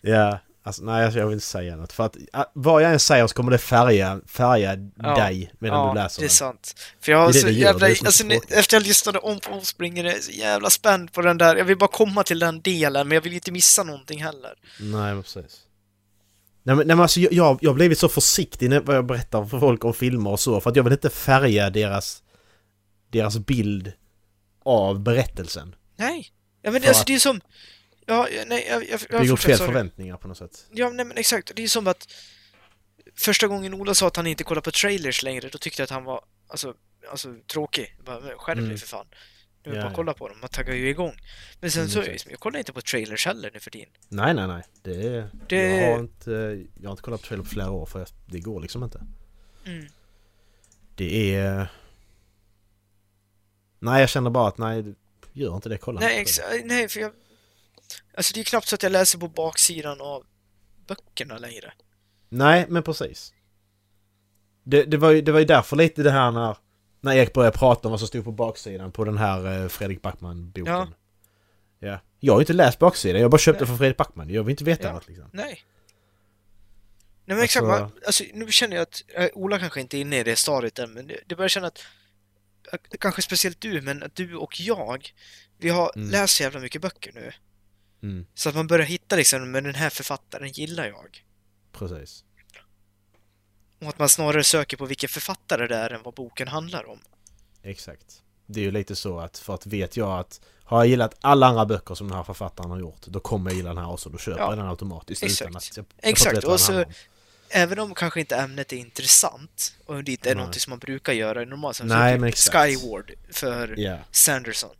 S2: Ja. Alltså, nej, alltså, jag vill inte säga något. För att ah, vad jag än säger så kommer det färga, färga
S1: Ja.
S2: dig medan
S1: ja,
S2: du läser
S1: det är
S2: den.
S1: sant. För jag har
S2: Det är det
S1: så
S2: det gör,
S1: jävla...
S2: det är det som är
S1: alltså, nu,
S2: tråkigt.
S1: efter jag lyssnade om på Oathbringer, jag är så jävla spänd på den där. Jag vill bara komma till den delen, men jag vill inte missa någonting heller.
S2: Nej, men precis. Nej men, nej, men alltså jag- jag, jag har blivit så försiktig när vad jag berättar för folk om filmer och så för att jag vill inte färga deras, deras bild av berättelsen.
S1: Nej! Ja men
S2: För
S1: alltså
S2: att-
S1: det är som... Ja, ja, nej, jag, jag, jag,
S2: Bygga upp
S1: fortsätter,
S2: fel
S1: sorry.
S2: förväntningar på något sätt.
S1: Ja, nej men exakt. Det är som att... Första gången Ola sa att han inte kollar på trailers längre, då tyckte jag att han var alltså, alltså, tråkig. Jag Bara, men skärp dig
S2: Mm.
S1: för fan. Nu vill
S2: Ja,
S1: jag bara
S2: ja.
S1: kolla på dem, man taggar ju igång. Men sen
S2: Mm,
S1: så,
S2: exakt.
S1: jag kollar inte på trailers heller nu för din.
S2: Nej, nej, nej. Det, är-
S1: Det-
S2: Jag, har inte, jag har inte kollat på trailer på flera år för jag, det går liksom inte.
S1: Mm.
S2: Det är... Nej, jag känner bara att nej, gör inte det. Kolla
S1: Nej,
S2: inte på
S1: exa- nej, för jag... Alltså det är knappt så att jag läser på baksidan av böckerna längre.
S2: Nej, men precis. Det, det, var, ju, det var ju därför lite det här när, när Erik började prata om vad som stod på baksidan på den här eh, Fredrik Backman-boken.
S1: Ja.
S2: ja. Jag har ju inte läst baksidan, jag har bara köpt
S1: Nej.
S2: den från Fredrik Backman. Jag vill inte veta
S1: Ja.
S2: något liksom.
S1: Nej. Nej men
S2: Alltså-
S1: exakt, man, alltså, nu känner jag att eh, Ola kanske inte är inne i det stadiet än, men det, det börjar känna att att- Kanske speciellt du, men att du och jag Vi har
S2: Mm.
S1: läst så jävla mycket böcker nu
S2: Mm,
S1: Så att man börjar hitta liksom, men den här författaren gillar jag
S2: precis.
S1: Och att man snarare söker på vilken författare det är än vad boken handlar om
S2: Exakt. Det är ju lite så att, för att vet jag att har jag gillat alla andra böcker som den här författaren har gjort, då kommer jag gilla den här också. Då köper
S1: Ja.
S2: jag den automatiskt.
S1: Exakt.
S2: Utan att jag, jag
S1: Exakt,
S2: får inte veta vad
S1: och
S2: den
S1: så-
S2: handlar om.
S1: Även om kanske inte ämnet är intressant och det inte är
S2: Nej.
S1: någonting som man brukar göra i normalt sett,
S2: Nej,
S1: typ
S2: men exakt.
S1: Skyward för
S2: Ja,
S1: Sanderson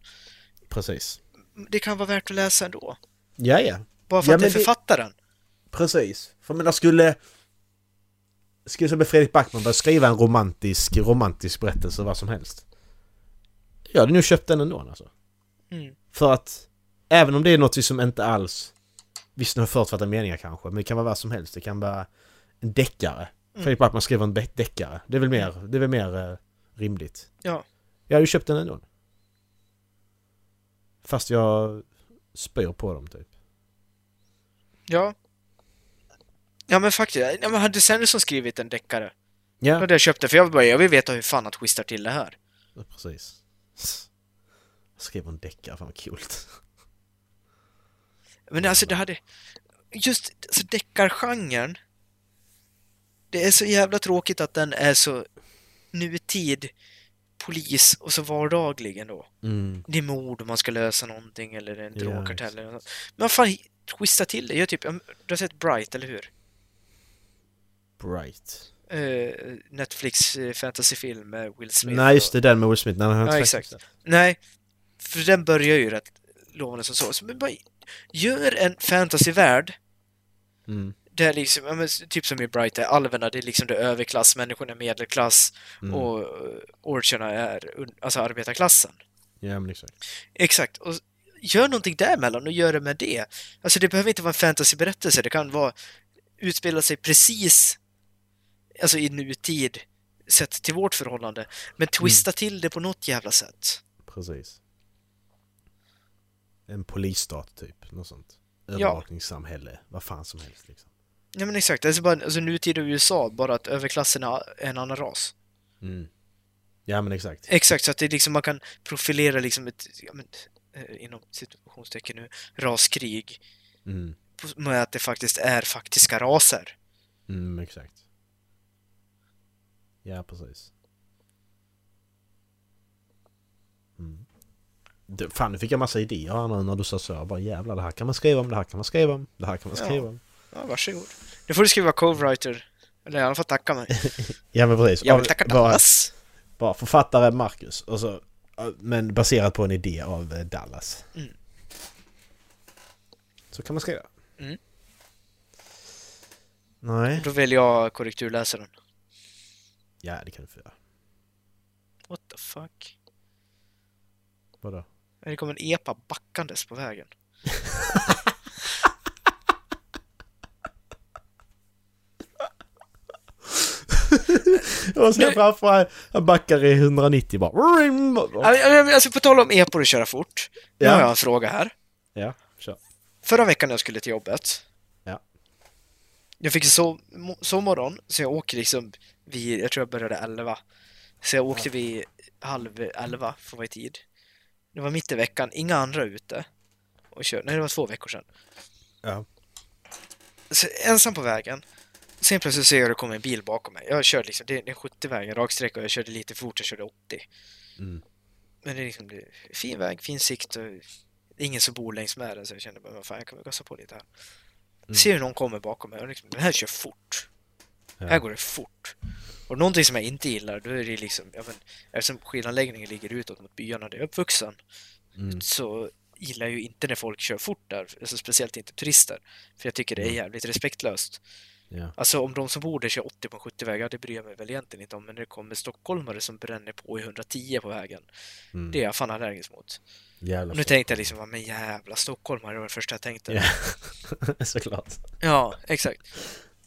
S2: precis.
S1: Det kan vara värt att läsa ändå
S2: Ja, ja.
S1: Bara för
S2: Ja,
S1: att det är
S2: men det-
S1: författaren
S2: Precis. För men jag skulle... Skulle som Fredrik Backman börja skriva en romantisk, romantisk berättelse vad som helst. Jag hade nog köpt den ändå alltså.
S1: Mm.
S2: För att även om det är något som inte alls... Visst, den har förutfattade meningar kanske, men det kan vara vad som helst. Det kan vara en
S1: Mm.
S2: deckare. Fredrik Backman skriver en be- deckare. Det är väl mer, det är väl mer eh, rimligt.
S1: Ja,
S2: Jag hade ju köpt den ändå. Fast jag spyr på dem typ.
S1: ja Ja men faktiskt, ja, men hade Sanderson skrivit en deckare Då
S2: Ja,
S1: hade jag köpt den, för jag vill bara, jag vill veta hur fan han twistar till det här
S2: Ja, Precis. Jag skrev en deckare, fan vad coolt.
S1: Men alltså det hade... Just alltså, deckargenren. Det är så jävla tråkigt att den är så nutid, polis och så vardaglig ändå.
S2: Mm.
S1: Det är mord och man ska lösa någonting eller det är en
S2: Ja,
S1: drogkartell eller något. Men fan, hi- twista till det. Jag typ, jag- du har sett Bright, eller hur?
S2: Bright.
S1: Eh, Netflix eh, fantasyfilm med Will Smith.
S2: Nej, just
S1: och-
S2: det, den med Will Smith. Nej, den har jag
S1: Ja,
S2: inte
S1: exakt. Nej, för den börjar ju rätt lovande som så. så men bara, gör en fantasyvärld
S2: Mm.
S1: Det är liksom, ja, men, typ som i Bright, där alverna, det är liksom det är överklass, människorna är medelklass
S2: Mm.
S1: och eh, orcherna är un- alltså arbetarklassen.
S2: Ja, men exakt.
S1: Exakt, och gör någonting däremellan och gör det med det. Alltså det behöver inte vara en fantasyberättelse, det kan vara utspela sig precis alltså i nutid sett till vårt förhållande, men twista till det på något jävla sätt.
S2: Precis. En polisstat typ, något sånt. Övervakningssamhälle, vad fan som helst liksom.
S1: Ja men exakt, alltså, bara, alltså nutida USA, bara att överklassen är en annan ras.
S2: Mm. Ja, men exakt.
S1: Exakt, så att det är liksom, man kan profilera liksom ett, ja, men, eh, inom situationstecken nu, raskrig Eh.
S2: Mm.
S1: på- med att det faktiskt är faktiska raser.
S2: Mm, exakt. Ja, precis. Mm. Du, fan, nu fick jag massa idéer här nu när du sa så. Jag bara jävlar, det här kan man skriva om, det här kan man skriva om, det här kan man
S1: Ja.
S2: skriva om.
S1: Ja, varsågod. Nu får du skriva co-writer, eller han får tacka mig.
S2: Ja, men precis.
S1: Jag vill tacka
S2: bara,
S1: Dallas.
S2: bara författare Marcus, och så, men baserat på en idé av eh, Dallas.
S1: Mm.
S2: Så kan man skriva.
S1: Mm.
S2: Nej.
S1: Då väljer jag korrekturläsaren.
S2: Ja, det kan du få göra.
S1: What the fuck?
S2: Vadå?
S1: Det kom en epa backandes på vägen.
S2: Jag ser framför mig, han backar i 190 bara.
S1: Ja, men- ja, men Alltså på tal om epor och köra fort. Nu
S2: Ja.
S1: har jag en fråga här.
S2: Ja, kör.
S1: Förra veckan när jag skulle till jobbet.
S2: Ja.
S1: Jag fick en sov, mo- sovmorgon, så jag åker liksom vid, jag tror jag började 11. Så jag åkte vid halv 11 för att vara i tid. Det var mitt i veckan, inga andra ute. Och kör, nej, det var två veckor sedan.
S2: Ja.
S1: Så ensam på vägen. Sen plötsligt ser jag att det kommer en bil bakom mig. Jag körde liksom, det är en 70-väg, en raksträcka och jag körde lite fort, jag körde 80.
S2: Mm.
S1: Men det är liksom det är fin väg, fin sikt och det är ingen som bor längs med den så jag kände bara, "Vad fan jag kan väl gasa på lite här.
S2: Mm.
S1: Ser hur någon kommer bakom mig och liksom, den här kör fort.
S2: Ja.
S1: Här går det fort. Och någonting som jag inte gillar, då är det liksom, ja men eftersom skidanläggningen ligger utåt mot byarna där jag är uppvuxen
S2: Mm.
S1: så gillar jag ju inte när folk kör fort där, alltså speciellt inte turister. För jag tycker det är
S2: Mm.
S1: jävligt respektlöst.
S2: Ja.
S1: Alltså om de som bor där kör 80 på 70 vägar, det bryr jag mig väl egentligen inte om, men när det kommer stockholmare som bränner på i 110 på vägen,
S2: Mm.
S1: det är jag fan allergisk mot.
S2: Jävla
S1: Och nu tänkte jag liksom, "Ja, men jävla stockholmare, det var det första jag tänkte.
S2: Ja. Såklart.
S1: Ja, exakt.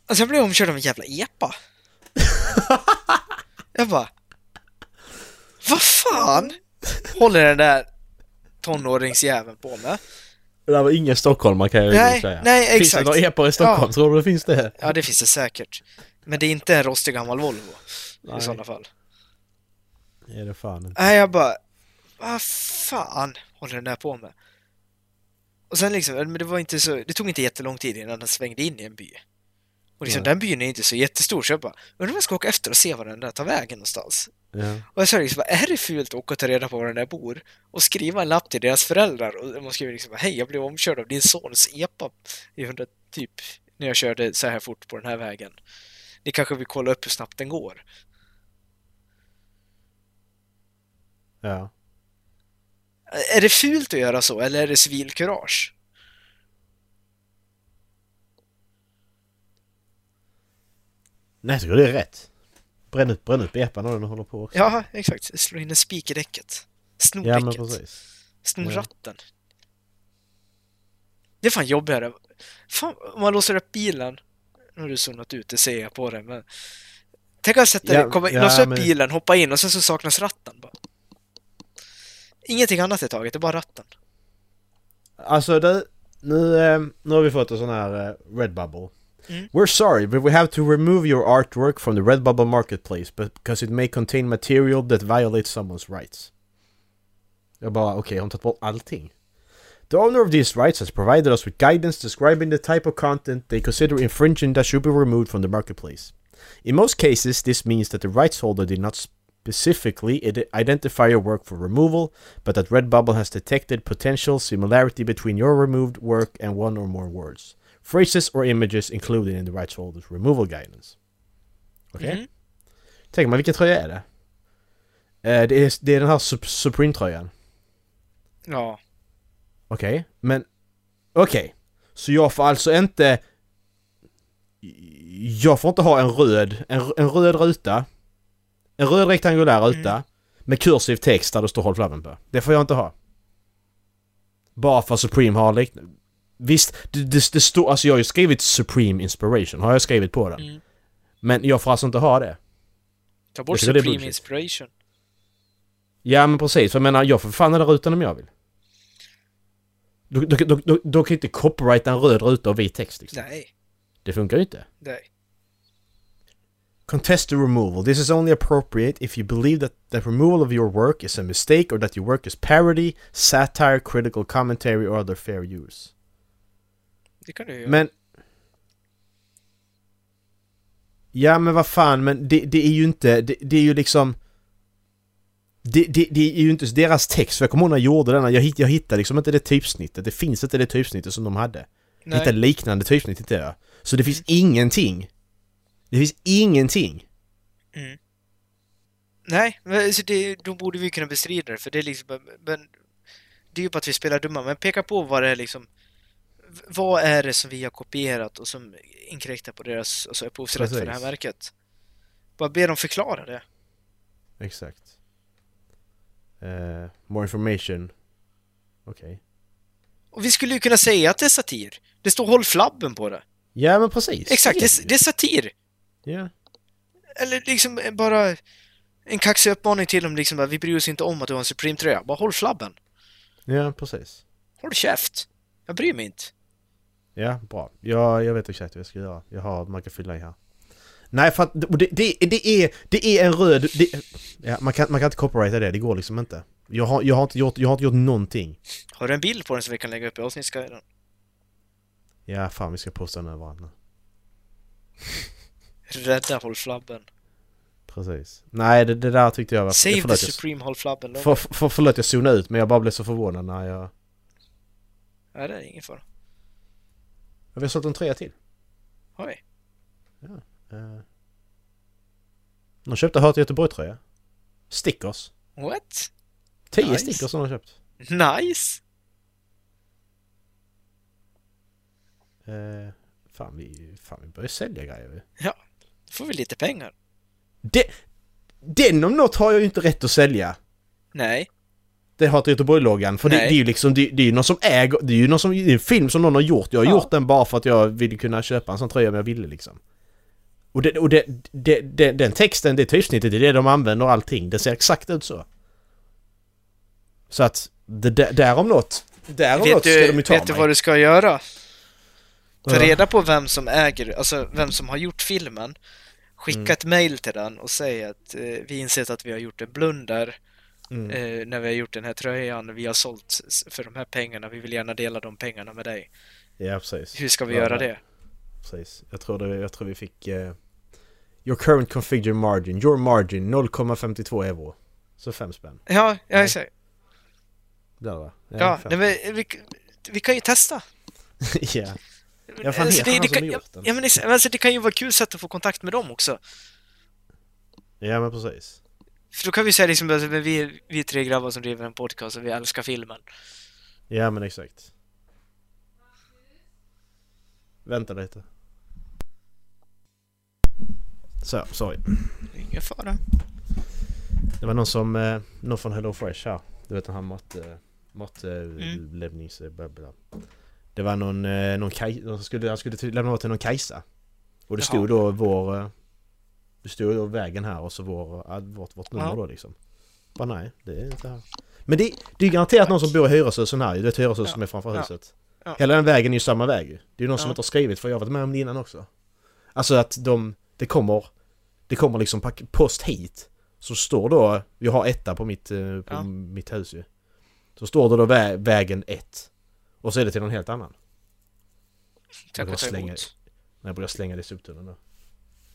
S1: Alltså jag blev omkörd av en jävla epa. jag bara... Vad fan håller den där tonåringsjäveln på med?
S2: Det där var ingen stockholmare kan jag ju
S1: Nej,
S2: säga.
S1: nej,
S2: Finns det
S1: exakt.
S2: några epor i Stockholm?
S1: Ja.
S2: Tror du det finns det?
S1: Ja, det finns det säkert. Men det är inte en rostig gammal Volvo
S2: Nej.
S1: i sådana fall.
S2: Är det fan inte.
S1: Nej, jag bara... Vad fan håller den där på med? Och sen liksom, men det var inte så... Det tog inte jättelång tid innan den svängde in i en by. Och liksom,
S2: Nej.
S1: den byn är inte så jättestor, så jag bara... Undrar om jag ska åka efter och se var den där tar vägen någonstans.
S2: Ja.
S1: Och jag sa liksom, bara, är det fult att åka och ta reda på var den där bor? Och skriva en lapp till deras föräldrar och man skriver liksom, hej jag blev omkörd av din sons epa i 100, typ, när jag körde så här fort på den här vägen. Ni kanske vill kolla upp hur snabbt den går?
S2: ja.
S1: Är det fult att göra så, eller är det civilkurage?
S2: Nej, så går det är rätt. Bränn upp, bränn upp epan när den håller på också.
S1: Ja, exakt. Slå in en spik i däcket. Snor
S2: ja men
S1: däcket.
S2: precis.
S1: Snor
S2: Ja.
S1: ratten. Det är fan jobbigare. Fan, om man låser upp bilen. Nu har du zonat ut, det ser jag på dig, men... Tänk att sätta
S2: Ja,
S1: dig, komma,
S2: ja,
S1: låsa upp
S2: men-
S1: bilen, hoppa in och sen så saknas ratten bara. Ingenting annat är taget, det är bara ratten.
S2: Alltså du, nu, eh, nu har vi fått en sån här eh, Redbubble.
S1: Mm.
S2: We're sorry, but we have to remove your artwork from the Redbubble marketplace because it may contain material that violates someone's rights. Jag bara, okej, har de tagit bort allting? The owner of these rights has provided us with guidance describing the type of content they consider infringing that should be removed from the marketplace. In most cases, this means that the rights holder did not specifically ide- identify your work for removal, but that Redbubble has detected potential similarity between your removed work and one or more words, phrases, or images included in the rights holder's removal guidance. Okej?
S1: Mm.
S2: Tänk man, vilken tröja är det? Eh, det, är, det är den här Sup- Supreme-tröjan.
S1: Ja.
S2: Okej, men... Okej. Så jag får alltså inte... Jag får inte ha en röd, en, en röd ruta. En röd rektangulär ruta. Med kursiv text där det står Håll flabben på. Det får jag inte ha. Bara för Supreme har liknande... Visst, det, det, det står... Alltså jag har ju skrivit Supreme Inspiration. Har jag skrivit på den.
S1: Mm.
S2: Men jag får alltså inte ha det.
S1: Ta bort
S2: tycker det är
S1: Supreme
S2: bullshit.
S1: Inspiration.
S2: Ja men precis, för jag menar jag får fan den där rutan om jag vill. Då, då, då, då, då kan ju inte copyrighta en röd ruta och vit text liksom.
S1: Nej,
S2: Det funkar ju inte.
S1: nej.
S2: Contest the removal. This is only appropriate if you believe that the removal of your work is a mistake or that your work is parody, satire, critical commentary or other fair use.
S1: Det kan du ju göra.
S2: Men... Ja men vad fan, men det, det är ju inte, det, det är ju liksom... Det, det, det är ju inte deras text, för jag kommer ihåg när jag gjorde den, jag, hitt, jag hittade liksom inte det typsnittet, det finns inte det typsnittet som de hade. Jag
S1: Nej. Mm.
S2: hittade liknande typsnitt hittade jag. Så det finns ingenting. Det finns ingenting.
S1: Nej, men alltså det, då borde vi kunna bestrida det, för det är liksom... Men, det är ju bara att vi spelar dumma, men peka på vad det är liksom... v- Vad är det som vi har kopierat och som inkräktar på deras alltså upphovsrätt för det här
S2: Precis.
S1: verket? Bara be dem förklara det.
S2: Exakt. Eh, more information. Okej.
S1: Och vi skulle ju kunna säga att det är satir. Det står håll flabben på det.
S2: Ja men precis.
S1: Exakt, det, är-
S2: det...
S1: det är satir!
S2: Ja.
S1: Eller liksom bara en kaxig uppmaning till dem liksom bara, vi bryr oss inte om att du har en Supreme-tröja. Bara håll flabben!
S2: ja, precis.
S1: Håll käft! Jag bryr mig inte.
S2: Ja, bra. Ja, jag vet exakt vad jag ska göra. Jag har, man kan fylla i här. Nej, för att och det, det, det, är, det är en röd... Det, ja, man, kan, man kan inte copyrighta det, det går liksom inte. Jag har, jag har, inte, gjort, jag har inte gjort någonting.
S1: Har du en bild på den som vi kan lägga upp i avsnittsguiden?
S2: Ja, fan vi ska posta den överallt nu.
S1: Rädda håll flabben.
S2: Precis. Nej, det, det där tyckte jag var...
S1: Save the
S2: förlåt, jag,
S1: Supreme Hall Flabben då.
S2: för, för, förlåt, jag zonade ut men jag bara blev så förvånad när jag...
S1: Nej, det är ingen fara.
S2: Jag har sålt en trea till.
S1: Har vi?
S2: Uh. De köpte Hör till Göteborg-tröja. Stickers.
S1: What?
S2: Tio
S1: Nice.
S2: stickers som de köpt.
S1: Nice!
S2: Eh, fan, vi, fan, vi börjar sälja grejer vi.
S1: Då får vi lite pengar.
S2: Det, den om något har jag ju inte rätt att sälja.
S1: Nej.
S2: Det har inte Göteborg-loggan. För det, det
S1: Nej.
S2: är ju liksom, det, det är ju någon som äger, det är ju någon som, det är en film som någon har gjort. Jag har
S1: Ja.
S2: gjort den bara för att jag ville kunna köpa en sån tröja om jag ville liksom. Och, det, och det, det, det, den texten, det typsnittet, det är det de använder och allting. Det ser exakt ut så. Så att, det, där- därom något. Därom
S1: Vet
S2: något ska
S1: du,
S2: de ju ta
S1: vet du
S2: mig.
S1: vad du ska göra? Ta
S2: Ja.
S1: reda på vem som äger, alltså vem som har gjort filmen. Skicka
S2: Mm.
S1: ett mail till den och säg att eh, vi insett att vi har gjort en blunder
S2: Mm.
S1: eh, när vi har gjort den här tröjan. Vi har sålt s- för de här pengarna. Vi vill gärna dela de pengarna med dig.
S2: Ja, precis.
S1: Hur ska vi
S2: Ja,
S1: göra
S2: ja.
S1: det?
S2: Precis. Jag tror, det, jag tror vi fick... eh, your current configure margin. Your margin 0,52 euro. Så fem spänn.
S1: Ja,
S2: Nej.
S1: jag säger.
S2: Blir det va? Ja,
S1: Ja,
S2: fem.
S1: nej, men vi, vi kan ju testa.
S2: ja. Ja, fan, heter han
S1: Alltså,
S2: som
S1: kan,
S2: har
S1: ja,
S2: gjort den?
S1: ja, men ex- alltså, det kan ju vara kul sätt att få kontakt med dem också.
S2: ja, men precis.
S1: För då kan vi säga liksom att vi, vi är tre grabbar som driver en podcast och vi älskar filmen.
S2: Ja, men exakt. Vänta lite. Så, sorry.
S1: Ingen fara.
S2: Det var någon som... Eh, någon från Hello Fresh här. Du vet han mat... Eh,
S1: Mm.
S2: Matlämnings... Eh, bla, bla. Det var någon... Eh, någon kaj, någon som skulle, han skulle ty- lämna åt till någon Kajsa. Och det
S1: Jaha.
S2: stod då vår... Eh, det stod då vägen här och så vår, eh, vårt, vårt nummer
S1: Ja.
S2: då liksom. Bara nej, det är inte här. Men det, det är garanterat någon som bor i hyreshusen här ju. Du vet hyreshusen
S1: Ja.
S2: som är framför
S1: Ja.
S2: huset.
S1: Ja.
S2: Hela den vägen är ju samma väg ju. Det är ju någon som
S1: Ja.
S2: inte har skrivit för jag har varit med om det innan också. Alltså att de... Det kommer... Det kommer liksom pack- post hit. Så står då, jag har etta på mitt, eh, på
S1: Ja.
S2: mitt hus ju. Så står det då vä- vägen 1. Och så är det till någon helt annan.
S1: Tack och
S2: Jag
S1: ta
S2: slänger-
S1: emot.
S2: När jag börjar slänga det i soptunnan då.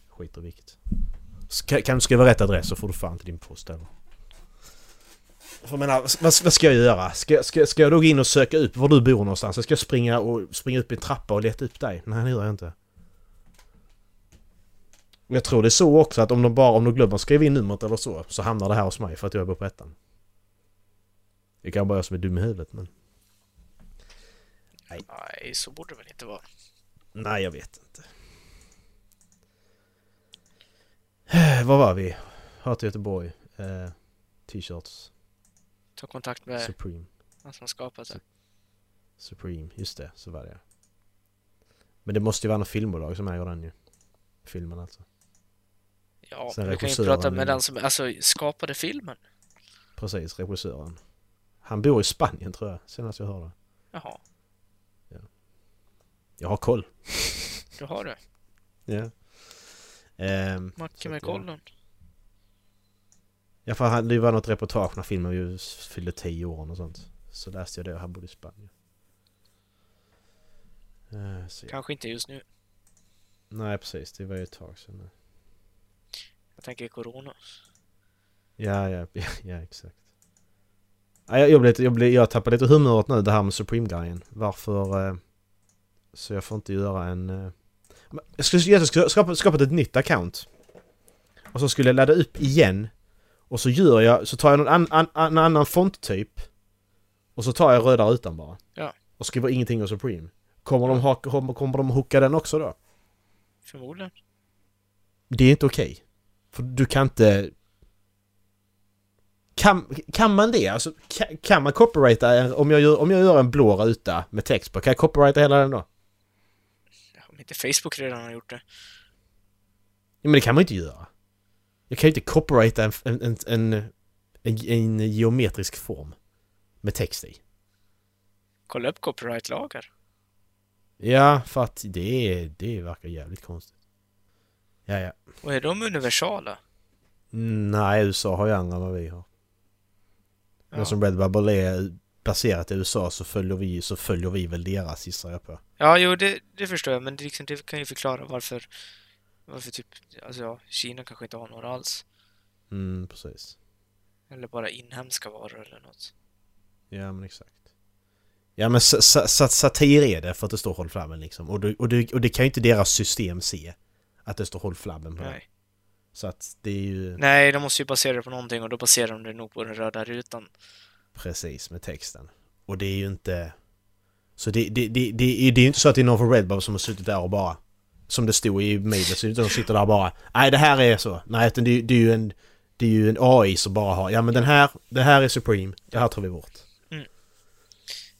S2: Skit och vilket. Ska, kan du skriva rätt adress så får du fan inte din post heller. För jag menar, vad, vad ska jag göra? Ska, ska, ska jag då gå in och söka upp var du bor någonstans? Eller Ska jag springa, och, springa upp i en trappa och leta upp dig? Nej, det gör jag inte. Och Jag tror det är så också att om de bara om de glömmer att skriva in numret eller så, så hamnar det här hos mig för att jag bor på ettan. Det kan vara jag som är dum i huvudet men...
S1: Nej, så borde det väl inte vara.
S2: Nej, jag vet inte. Var Eh, var vi? Hat i Göteborg. Eh, T-shirts.
S1: Ta kontakt med
S2: Supreme.
S1: han som har skapat det.
S2: Supreme. Just det, så var det. Men det måste ju vara något filmbolag som äger den ju. Filmen alltså.
S1: Ja,
S2: Sen
S1: men du kan ju
S2: regissören
S1: prata med
S2: eller-
S1: den som alltså, skapade filmen.
S2: Precis, regissören. Han bor i Spanien tror jag, senast jag hörde.
S1: Jaha,
S2: Jag har koll.
S1: du har det.
S2: Ja. Ehm,
S1: Macke
S2: Så
S1: med
S2: att, ja.
S1: kollen.
S2: Ja, för han, det var något reportage när filmen ju fyllde 10 år och sånt. Så läste jag det och han bodde i Spanien. Eh, så ja.
S1: Kanske inte just nu.
S2: Nej, precis. Det var ju ett tag sedan.
S1: Jag tänker corona.
S2: Ja, ja, ja, ja exakt. Ja, jag, jag, blev, lite- jag, blev, jag tappade lite humöret nu det här med Supreme-grejen. Varför... Eh, så jag får inte göra en... Eh, men jag skulle, jag skulle skapa, skapa ett nytt account. Och så skulle jag ladda upp igen. Och så gör jag, så tar jag någon an, an, an, annan font-typ. Och så tar jag röda rutan bara.
S1: Ja.
S2: Och skriver ingenting om Supreme. Kommer de, ha, kommer, kommer de hooka den också då?
S1: Förmodligen.
S2: Det är inte okej. För du kan inte... Kan, kan man det? Alltså, kan, kan man copyrighta? en- Om jag, gör, om jag gör en blå ruta med text på, kan jag copyrighta hela den då?
S1: Ja, Om inte Facebook redan har gjort det.
S2: Ja, men det kan man ju inte göra. Jag kan ju inte copyrighta en, en, en, en, en, en geometrisk form med text i.
S1: Kolla upp copyrightlagar.
S2: Ja, för att det, är- det verkar jävligt konstigt. Ja, ja.
S1: Och är de universala?
S2: Mm, Nej, USA har ju andra än vad vi har. Men
S1: Ja.
S2: som Red Bubble är baserat i USA så följer vi, så följer vi väl deras gissar jag på.
S1: Ja, jo, det, det förstår jag, men det, liksom, det kan ju förklara varför varför typ, alltså ja, Kina kanske inte har några alls.
S2: Mm, precis.
S1: Eller bara inhemska varor eller något.
S2: Ja, men exakt. Ja, men sa- sa- sa- satir är det för att det står håll flabben liksom. Och, du, och, du, och det kan ju inte deras system se. Att det står håll flabben på det.
S1: Nej.
S2: Så att det är ju
S1: Nej, de måste ju basera det på någonting och då baserar de det nog på den röda rutan.
S2: precis med texten. Och det är ju inte... Så det, det, det, det, är- det är ju inte så att det är någon från Redbubble som har suttit där och bara... Som det stod i mejlet, så utan de sitter där och bara... Nej, det här är så. Nej, utan det, är ju- det är ju en... Det är ju en AI som bara har, ja men den här, det här är Supreme, det här tar vi bort.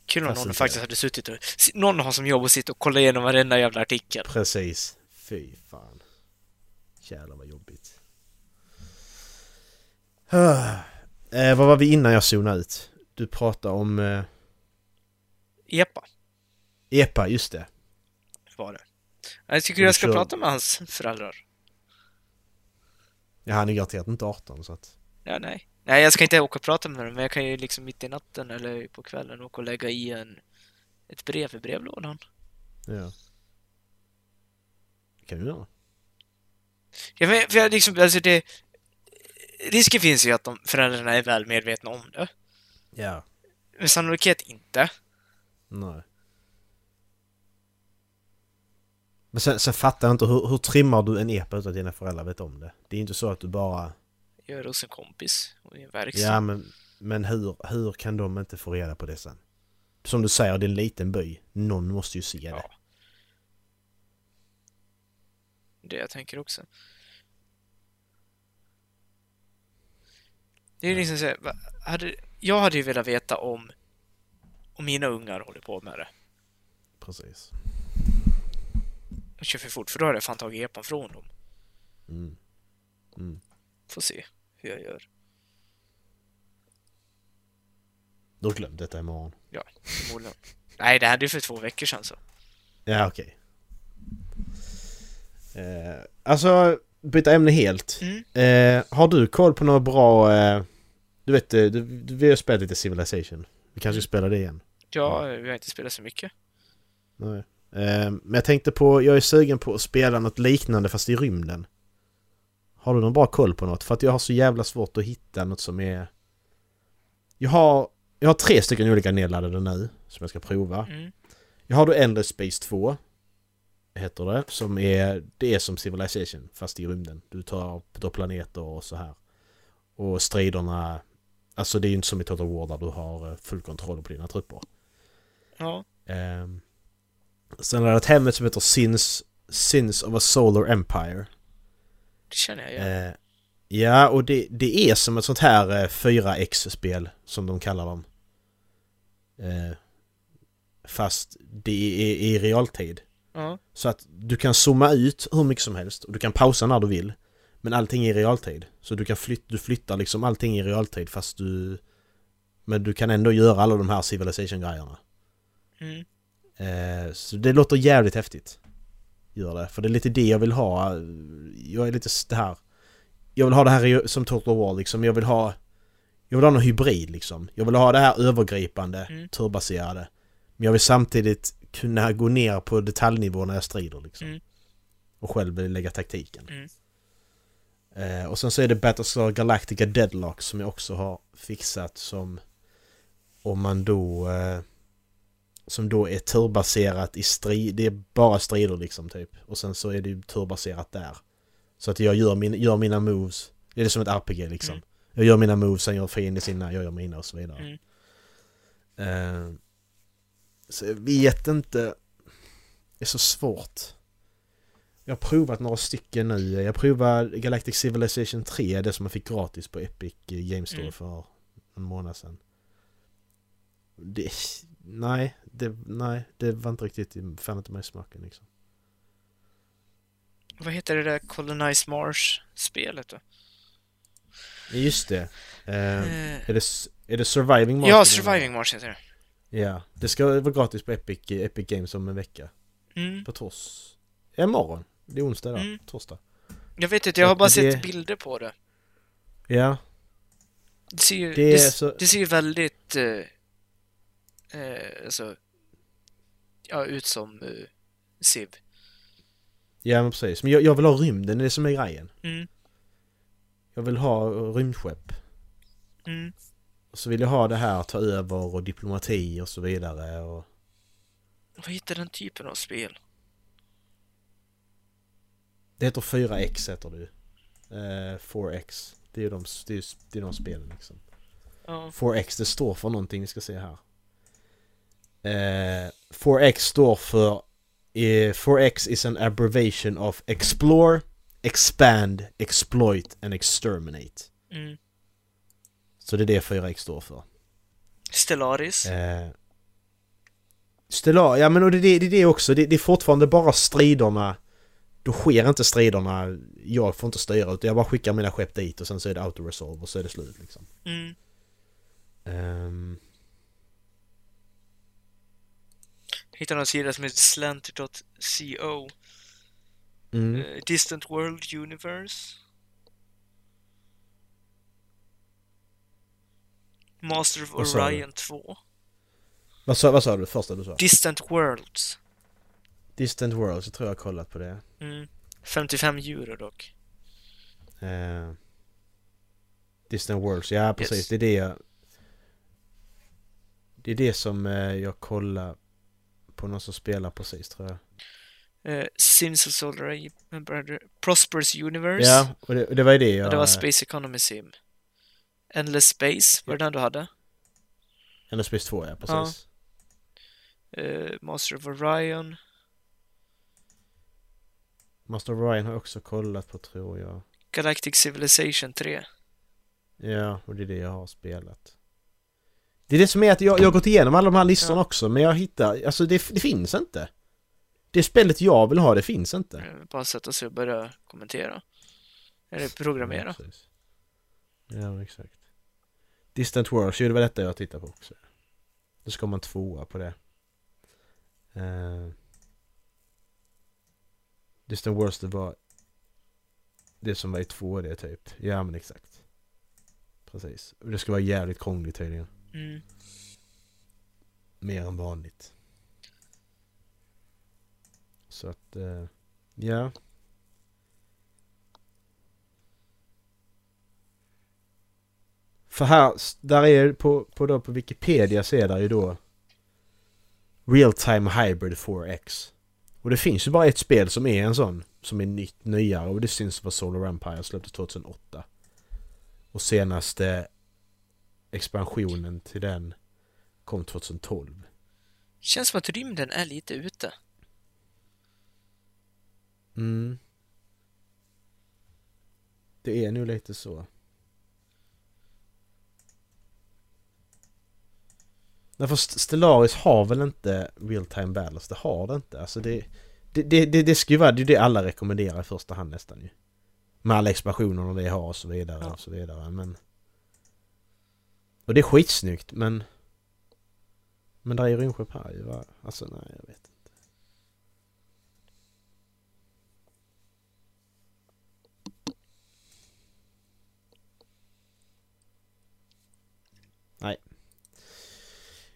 S1: Kul om
S2: Fast
S1: någon
S2: inte.
S1: faktiskt hade suttit och... si- Någon har som jobb att sitta och kolla igenom varenda jävla artikel.
S2: Precis. Fy fan. Jävlar vad jobbigt. Ah. Eh, vad var vi innan jag zonade ut? Du pratade om eh,
S1: Epa,
S2: EPA, just det.
S1: var det. Jag tycker
S2: Men
S1: jag ska
S2: kör-
S1: prata med hans föräldrar.
S2: Ja, han är garanterat inte 18 så att...
S1: Ja, nej. Nej, jag ska inte åka och prata med dem, men jag kan ju liksom mitt i natten eller på kvällen åka och lägga i en... Ett brev i brevlådan.
S2: Ja. Det kan du göra.
S1: Ja, men, för jag liksom, alltså det... Risken finns ju att de föräldrarna är väl medvetna om det.
S2: Ja.
S1: Men sannolikhet inte.
S2: Nej. Men sen, sen fattar jag inte, hur, hur trimmar du en EPA utan att dina föräldrar vet om det? Det är inte så att du bara...
S1: Jag är hos en kompis och i en verkstad.
S2: Ja, men, men hur, hur kan de inte få reda på det sen? Som du säger, det är en liten by. Någon måste ju se det.
S1: Ja. Det jag tänker också. Det är liksom så här, va- hade, jag hade ju velat veta om, om mina ungar håller på med det.
S2: Precis.
S1: De kör för fort, för då hade jag fan tagit epan från dem.
S2: Mm. Mm.
S1: Får se hur jag gör.
S2: Du har glömt detta imorgon.
S1: Ja, förmodligen. Nej, det hände ju för två veckor sedan så.
S2: Ja, okej. Eh, alltså, byta ämne helt.
S1: Mm.
S2: Eh, har du koll på några bra... Eh, du vet, eh, du, du, vi har spelat lite Civilization. Vi kanske spelar det igen.
S1: Ja, vi har inte spelat så mycket.
S2: Nej. Eh, men jag tänkte på, jag är sugen på att spela något liknande fast i rymden. Har du någon bra koll på något? För att jag har så jävla svårt att hitta något som är... Jag har, jag har tre stycken olika nedladdade nu som jag ska prova.
S1: Mm.
S2: Jag har då Endless Space 2. Heter det. Som är, det är som Civilization fast i rymden. Du tar, tar planeter och så här. Och striderna... Alltså det är ju inte som i Total War där du har eh, full kontroll på dina trupper.
S1: Ja,
S2: Ehm, sen har jag ett hem som heter Sins, Sins of a Solar Empire.
S1: det känner jag ju.
S2: Eh, ja, och det, det är som ett sånt här eh, 4X-spel som de kallar dem. Eh, fast det är i realtid.
S1: Ja,
S2: Så att du kan zooma ut hur mycket som helst och du kan pausa när du vill. Men allting är i realtid. Så du kan flyt, du flyttar liksom allting i realtid fast du... Men du kan ändå göra alla de här Civilization-grejerna.
S1: mm.
S2: Eh, Så det låter jävligt häftigt. Gör det. För det är lite det jag vill ha. Jag är lite s- det här... Jag vill ha det här i- som Total War liksom. Jag vill ha... Jag vill ha någon hybrid liksom. Jag vill ha det här övergripande,
S1: Mm.
S2: turbaserade. Men jag vill samtidigt kunna gå ner på detaljnivå när jag strider liksom.
S1: Mm.
S2: Och själv lägga taktiken.
S1: Mm.
S2: Eh, och sen så är det Battlestar Galactica Deadlock som jag också har fixat som... Om man då... Eh, som då är turbaserat i strid, det är bara strider liksom typ. Och sen så är det ju turbaserat där. Så att jag gör, min, gör mina moves, det är som ett RPG liksom.
S1: Mm.
S2: Jag gör mina moves, sen gör fienden sina, jag gör mina och så vidare.
S1: Mm.
S2: Eh, så jag vet inte, det är så svårt. Jag har provat några stycken nu, jag provade Galactic Civilization 3, det som man fick gratis på Epic Games Store
S1: Mm.
S2: för en månad sedan. Det, nej, det, nej, det var inte riktigt, fan inte mig i smaken liksom.
S1: Vad heter det där Colonize Mars-spelet då?
S2: Just det. Eh,
S1: Eh,
S2: är, det s- är det Surviving Mars?
S1: ja, Surviving Mars heter det.
S2: Ja, det ska vara gratis på Epic, Epic Games om en vecka.
S1: Mm.
S2: På tors... Ja, imorgon. Det är onsdag idag.
S1: Mm.
S2: Torsdag.
S1: Jag vet inte, jag har
S2: Och
S1: bara
S2: det-
S1: sett bilder på det.
S2: Ja,
S1: Det ser ju,
S2: Det
S1: det,
S2: är
S1: s-
S2: så-
S1: det ser ju väldigt... Eh, eh, alltså, ja, ut som eh, Civ.
S2: ja men precis. Men jag, jag vill ha rymden, det är det som är grejen.
S1: Mm,
S2: Jag vill ha rymdskepp.
S1: mm,
S2: Och så vill jag ha det här ta över och diplomati och så vidare och...
S1: Vad heter den typen av spel?
S2: Det heter 4X heter det ju. Eh, 4X. Det är ju de, det är, ju- det är de spelen liksom.
S1: Ja.
S2: 4X det står för någonting vi ska se här. Eh, 4X står för... Eh, 4X is an abbreviation of Explore, Expand, Exploit and Exterminate.
S1: Mm.
S2: Så det är det 4X står för.
S1: Stellaris.
S2: Eh, Stellar, ja men och det, det, det är det också. Det, det är fortfarande bara striderna. Då sker inte striderna. Jag får inte styra utan jag bara skickar mina skepp dit och sen så är det auto-resolve och så är det slut liksom.
S1: Mm.
S2: Ehm,
S1: Hittade en sida som heter slanter.co.
S2: mm.
S1: Eh, Distant World Universe. Master of
S2: Vad sa du?
S1: Orion 2.
S2: Vad, sa, vad sa du? Första du sa?
S1: Distant Worlds.
S2: Distant Worlds, jag tror jag har kollat på det.
S1: Mm. 55 euro dock.
S2: Eh, Distant Worlds, ja precis.
S1: Yes.
S2: Det är det jag... Det är det som eh, jag kollar på någon som spelar precis tror jag.
S1: Uh, Sims of Solar Age- Brother- Prosperous Universe.
S2: Ja, och det, och det var ju det jag...
S1: Och det var Space Economy Sim. Endless Space var det den du hade.
S2: Eller Space 2 ja, precis.
S1: Eh, Master of Orion.
S2: Master of Orion har jag också kollat på tror jag.
S1: Galactic Civilization 3.
S2: Ja, och det är det jag har spelat. Det är det som är att jag, jag har gått igenom alla de här listorna
S1: Ja.
S2: också men jag hittar, alltså det, det finns inte. Det spelet jag vill ha det finns inte.
S1: Eh, Bara sätta sig och börja kommentera. Eller programmera.
S2: Ja, precis. ja exakt. Distant Worlds, ju det var detta jag tittade på också. Då ska man tvåa på det. Eh, Distant Worlds det var det som var i 2D typ. Ja men exakt. Precis. Och det ska vara jävligt krångligt tydligen.
S1: Mm.
S2: Mer än vanligt. Så att, eh, ja. För här, s- där är på, på, då, på Wikipedia så är där ju då Real Time Hybrid 4X. Och det finns ju bara ett spel som är en sån, som är nytt, nyare och det syns vara Solar Empire släpptes 2008. Och senaste expansionen till den kom 2012.
S1: Känns som att rymden är lite ute.
S2: Mm. Det är nog lite så. Nej för St- Stellaris har väl inte real time balance, det har det inte. Alltså det, det, det, det, det ska ju vara, det är det alla rekommenderar i första hand nästan ju. Med alla expansioner det har och så vidare
S1: Ja.
S2: och så vidare men... Och det är skitsnyggt men... Men där är ju rymdskepp här ju va? Alltså nej jag vet inte.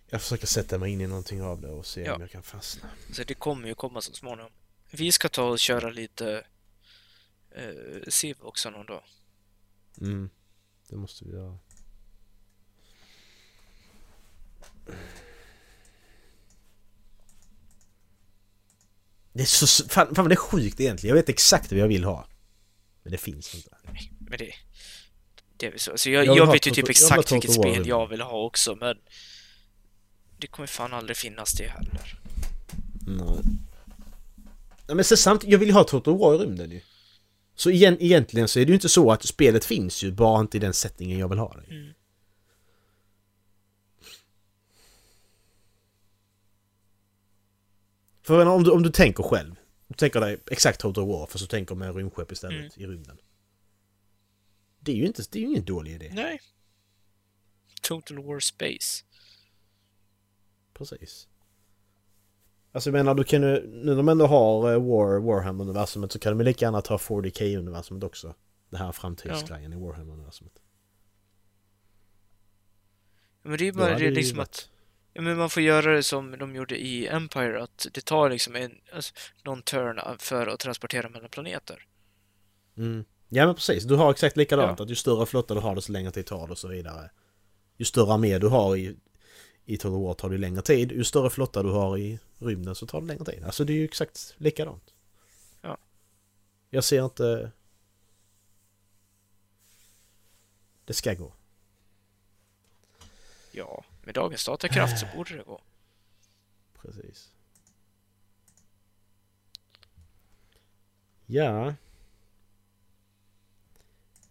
S2: Jag försöker sätta mig in i någonting av det och se
S1: Ja.
S2: om jag kan fastna.
S1: Så det kommer ju komma så småningom. Vi ska ta och köra lite eh, Civ också någon dag.
S2: Mm. Det måste vi göra. Det är så... Fan, fan vad det är sjukt egentligen. Jag vet exakt vad jag vill ha. Men det finns inte.
S1: Men det, det är väl så. Alltså jag,
S2: Jag
S1: jag,
S2: vill ha
S1: vet ju
S2: Toto-
S1: typ
S2: jag vill ha
S1: exakt
S2: Toto
S1: vilket spel
S2: Wolff.
S1: jag vill ha också, men det kommer fan aldrig finnas det heller.
S2: Nej. Nej men så samtidigt, jag vill ju ha Total War i rymden ju. Så igen, egentligen så är det ju inte så att spelet finns ju, bara inte i den settingen jag vill ha det. i.
S1: Mm.
S2: För jag menar, om du, om du tänker själv, du tänker dig exakt Total War, för så tänker man rymdskepp istället
S1: Mm.
S2: i rymden. Det är ju inte, det är ju ingen dålig idé.
S1: Nej. Total War Space.
S2: Precis. Alltså jag menar, du kan ju, nu när de ändå har eh, War, Warhammer-universumet så kan de ju lika gärna ta 40K-universumet också. Det här framtidsgrejen i Warhammer-universumet.
S1: Men det är ju
S2: Då
S1: bara
S2: hade
S1: det
S2: ju
S1: liksom
S2: varit-
S1: att ja, men man får göra det som de gjorde i Empire, att det tar liksom en, alltså, någon turn för att transportera mellan planeter.
S2: Mm. Ja men precis, du har exakt likadant.
S1: Ja.
S2: Att ju större flotta du har desto längre tid tar det och så vidare. Ju större armé du har i, i Total War tar det ju längre tid. Ju större flotta du har i rymden så tar det längre tid. Alltså det är ju exakt likadant.
S1: Ja.
S2: Jag ser inte... Det ska gå.
S1: Ja, med dagens datakraft så borde det gå.
S2: Precis. Eh, Ja.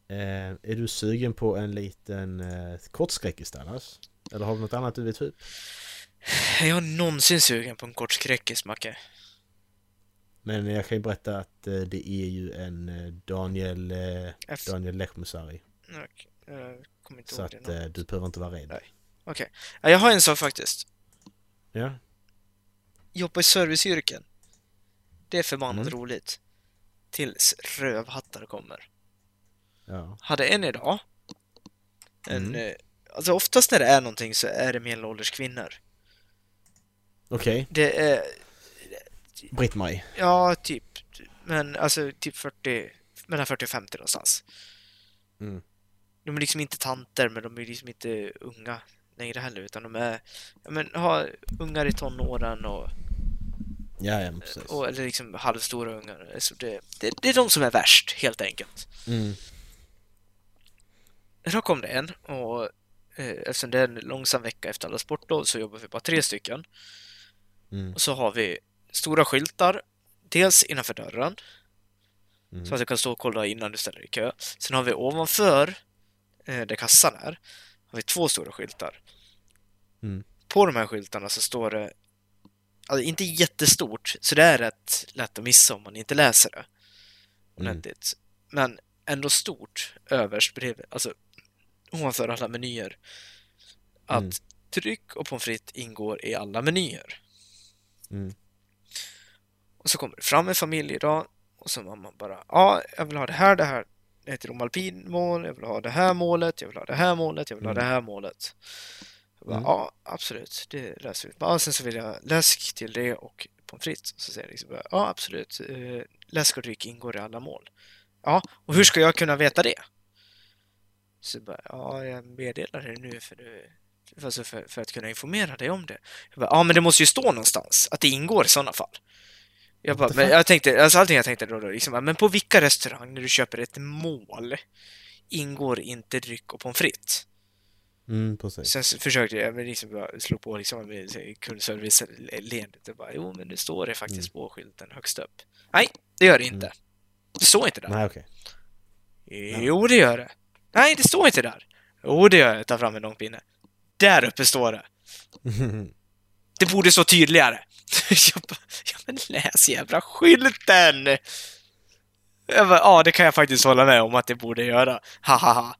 S2: Eh, är du sugen på en liten eh, kortskräckis annars? Eller har du något annat du vill ta upp?
S1: Är jag någonsin sugen på en kort skräckis, Macke?
S2: Men jag kan ju berätta att eh, det är ju en eh, Daniel, eh,
S1: F-
S2: Daniel Lechmusari.
S1: Okej, Jag kommer inte
S2: Så
S1: ihåg det
S2: att
S1: nu.
S2: eh, du behöver inte vara rädd.
S1: Nej. Okej. Ja, Jag har en sak faktiskt.
S2: Ja,
S1: Jobba i serviceyrken. Det är förbannat
S2: Mm.
S1: roligt. Tills rövhattar kommer.
S2: ja.
S1: hade en idag. En,
S2: Mm.
S1: eh, Alltså oftast när det är någonting så är det medelålders kvinnor.
S2: Okej,
S1: Det är,
S2: Britt-Marie.
S1: ja typ, men alltså typ 40, mellan 40 och 50 någonstans.
S2: Mm.
S1: De är liksom inte tanter, men de är liksom inte unga längre heller, utan de är, ja, men har ungar i tonåren och,
S2: Ja, ja, men precis.
S1: och eller liksom halvstora ungar. Så det, det, det är de som är värst, helt enkelt.
S2: Mm.
S1: Då kom det en och eh, eftersom det är en långsam vecka efter alla sportlov så jobbar vi bara tre stycken.
S2: Mm.
S1: Och så har vi stora skyltar, dels innanför dörren,
S2: Mm.
S1: så att du kan stå och kolla innan du ställer dig i kö. Sen har vi ovanför, eh, där kassan är, har vi två stora skyltar.
S2: Mm.
S1: På de här skyltarna så står det, alltså inte jättestort, så det är rätt lätt att missa om man inte läser
S2: Mm.
S1: det ordentligt. Men ändå stort överst bredvid, alltså ovanför alla menyer. Att
S2: Mm.
S1: tryck och pommes frites ingår i alla menyer.
S2: Mm.
S1: Och så kommer det fram en familj idag och så mamman bara ja, jag vill ha det här, det här. Det är ett romalpinmål, jag vill ha det här målet, jag vill ha det här målet, jag vill ha
S2: Mm.
S1: det här målet. Jag bara,
S2: Mm.
S1: Ja, absolut, det löser vi. Bara, sen så vill jag läsk till det och pommes frites. Så säger jag liksom bara, ja absolut, eh, läsk och dryck ingår i alla mål. Ja, och hur ska jag kunna veta det? Så jag bara, ja, jag meddelar det nu för, du, alltså för, för att kunna informera dig om det. Jag bara, ja, men det måste ju stå någonstans att det ingår i sådana fall. Jag bara,
S2: What the
S1: men
S2: fuck?
S1: jag tänkte, alltså allting jag tänkte då, då liksom, men på vilka restauranger du köper ett mål ingår inte dryck och pommes frites?
S2: Mm, precis.
S1: Sen så försökte jag men liksom bara slå på liksom med så här kundservice-leendet och bara, jo, men det står det faktiskt på skylten högst upp. Nej, det gör det inte. Det står inte där.
S2: Nej, okej.
S1: Jo, det gör det. Nej, det står inte där. Jo, det gör det. Ta fram en lång pinne. Där uppe står det. Det borde stå tydligare. jag bara, ja men läs jävla skylten! Jag bara, ja, det kan jag faktiskt hålla med om att det borde göra. Hahaha.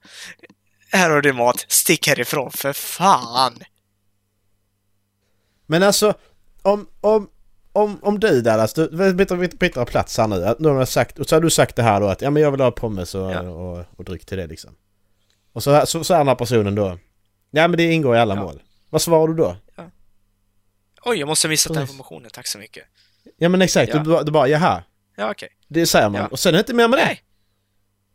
S1: Här har du mat. Stick härifrån för fan!
S2: Men alltså, om, om, om, om du Dallas, du vi byter, vi byter plats här nu. Att nu har jag sagt, och så har du sagt det här då att ja, men jag vill ha pommes och,
S1: Ja.
S2: och, och dryck till det liksom. Och så, här- så, så är den här personen då. Ja men det ingår i alla
S1: Ja.
S2: mål. Vad svarar du då?
S1: Oj, jag måste ha missat
S2: Precis.
S1: informationen. Tack så mycket.
S2: Ja men exakt,
S1: Ja.
S2: Du, bara- du bara jaha.
S1: Ja, okej.
S2: Det säger man.
S1: Ja.
S2: Och sen är det inte mer med det.
S1: Nej.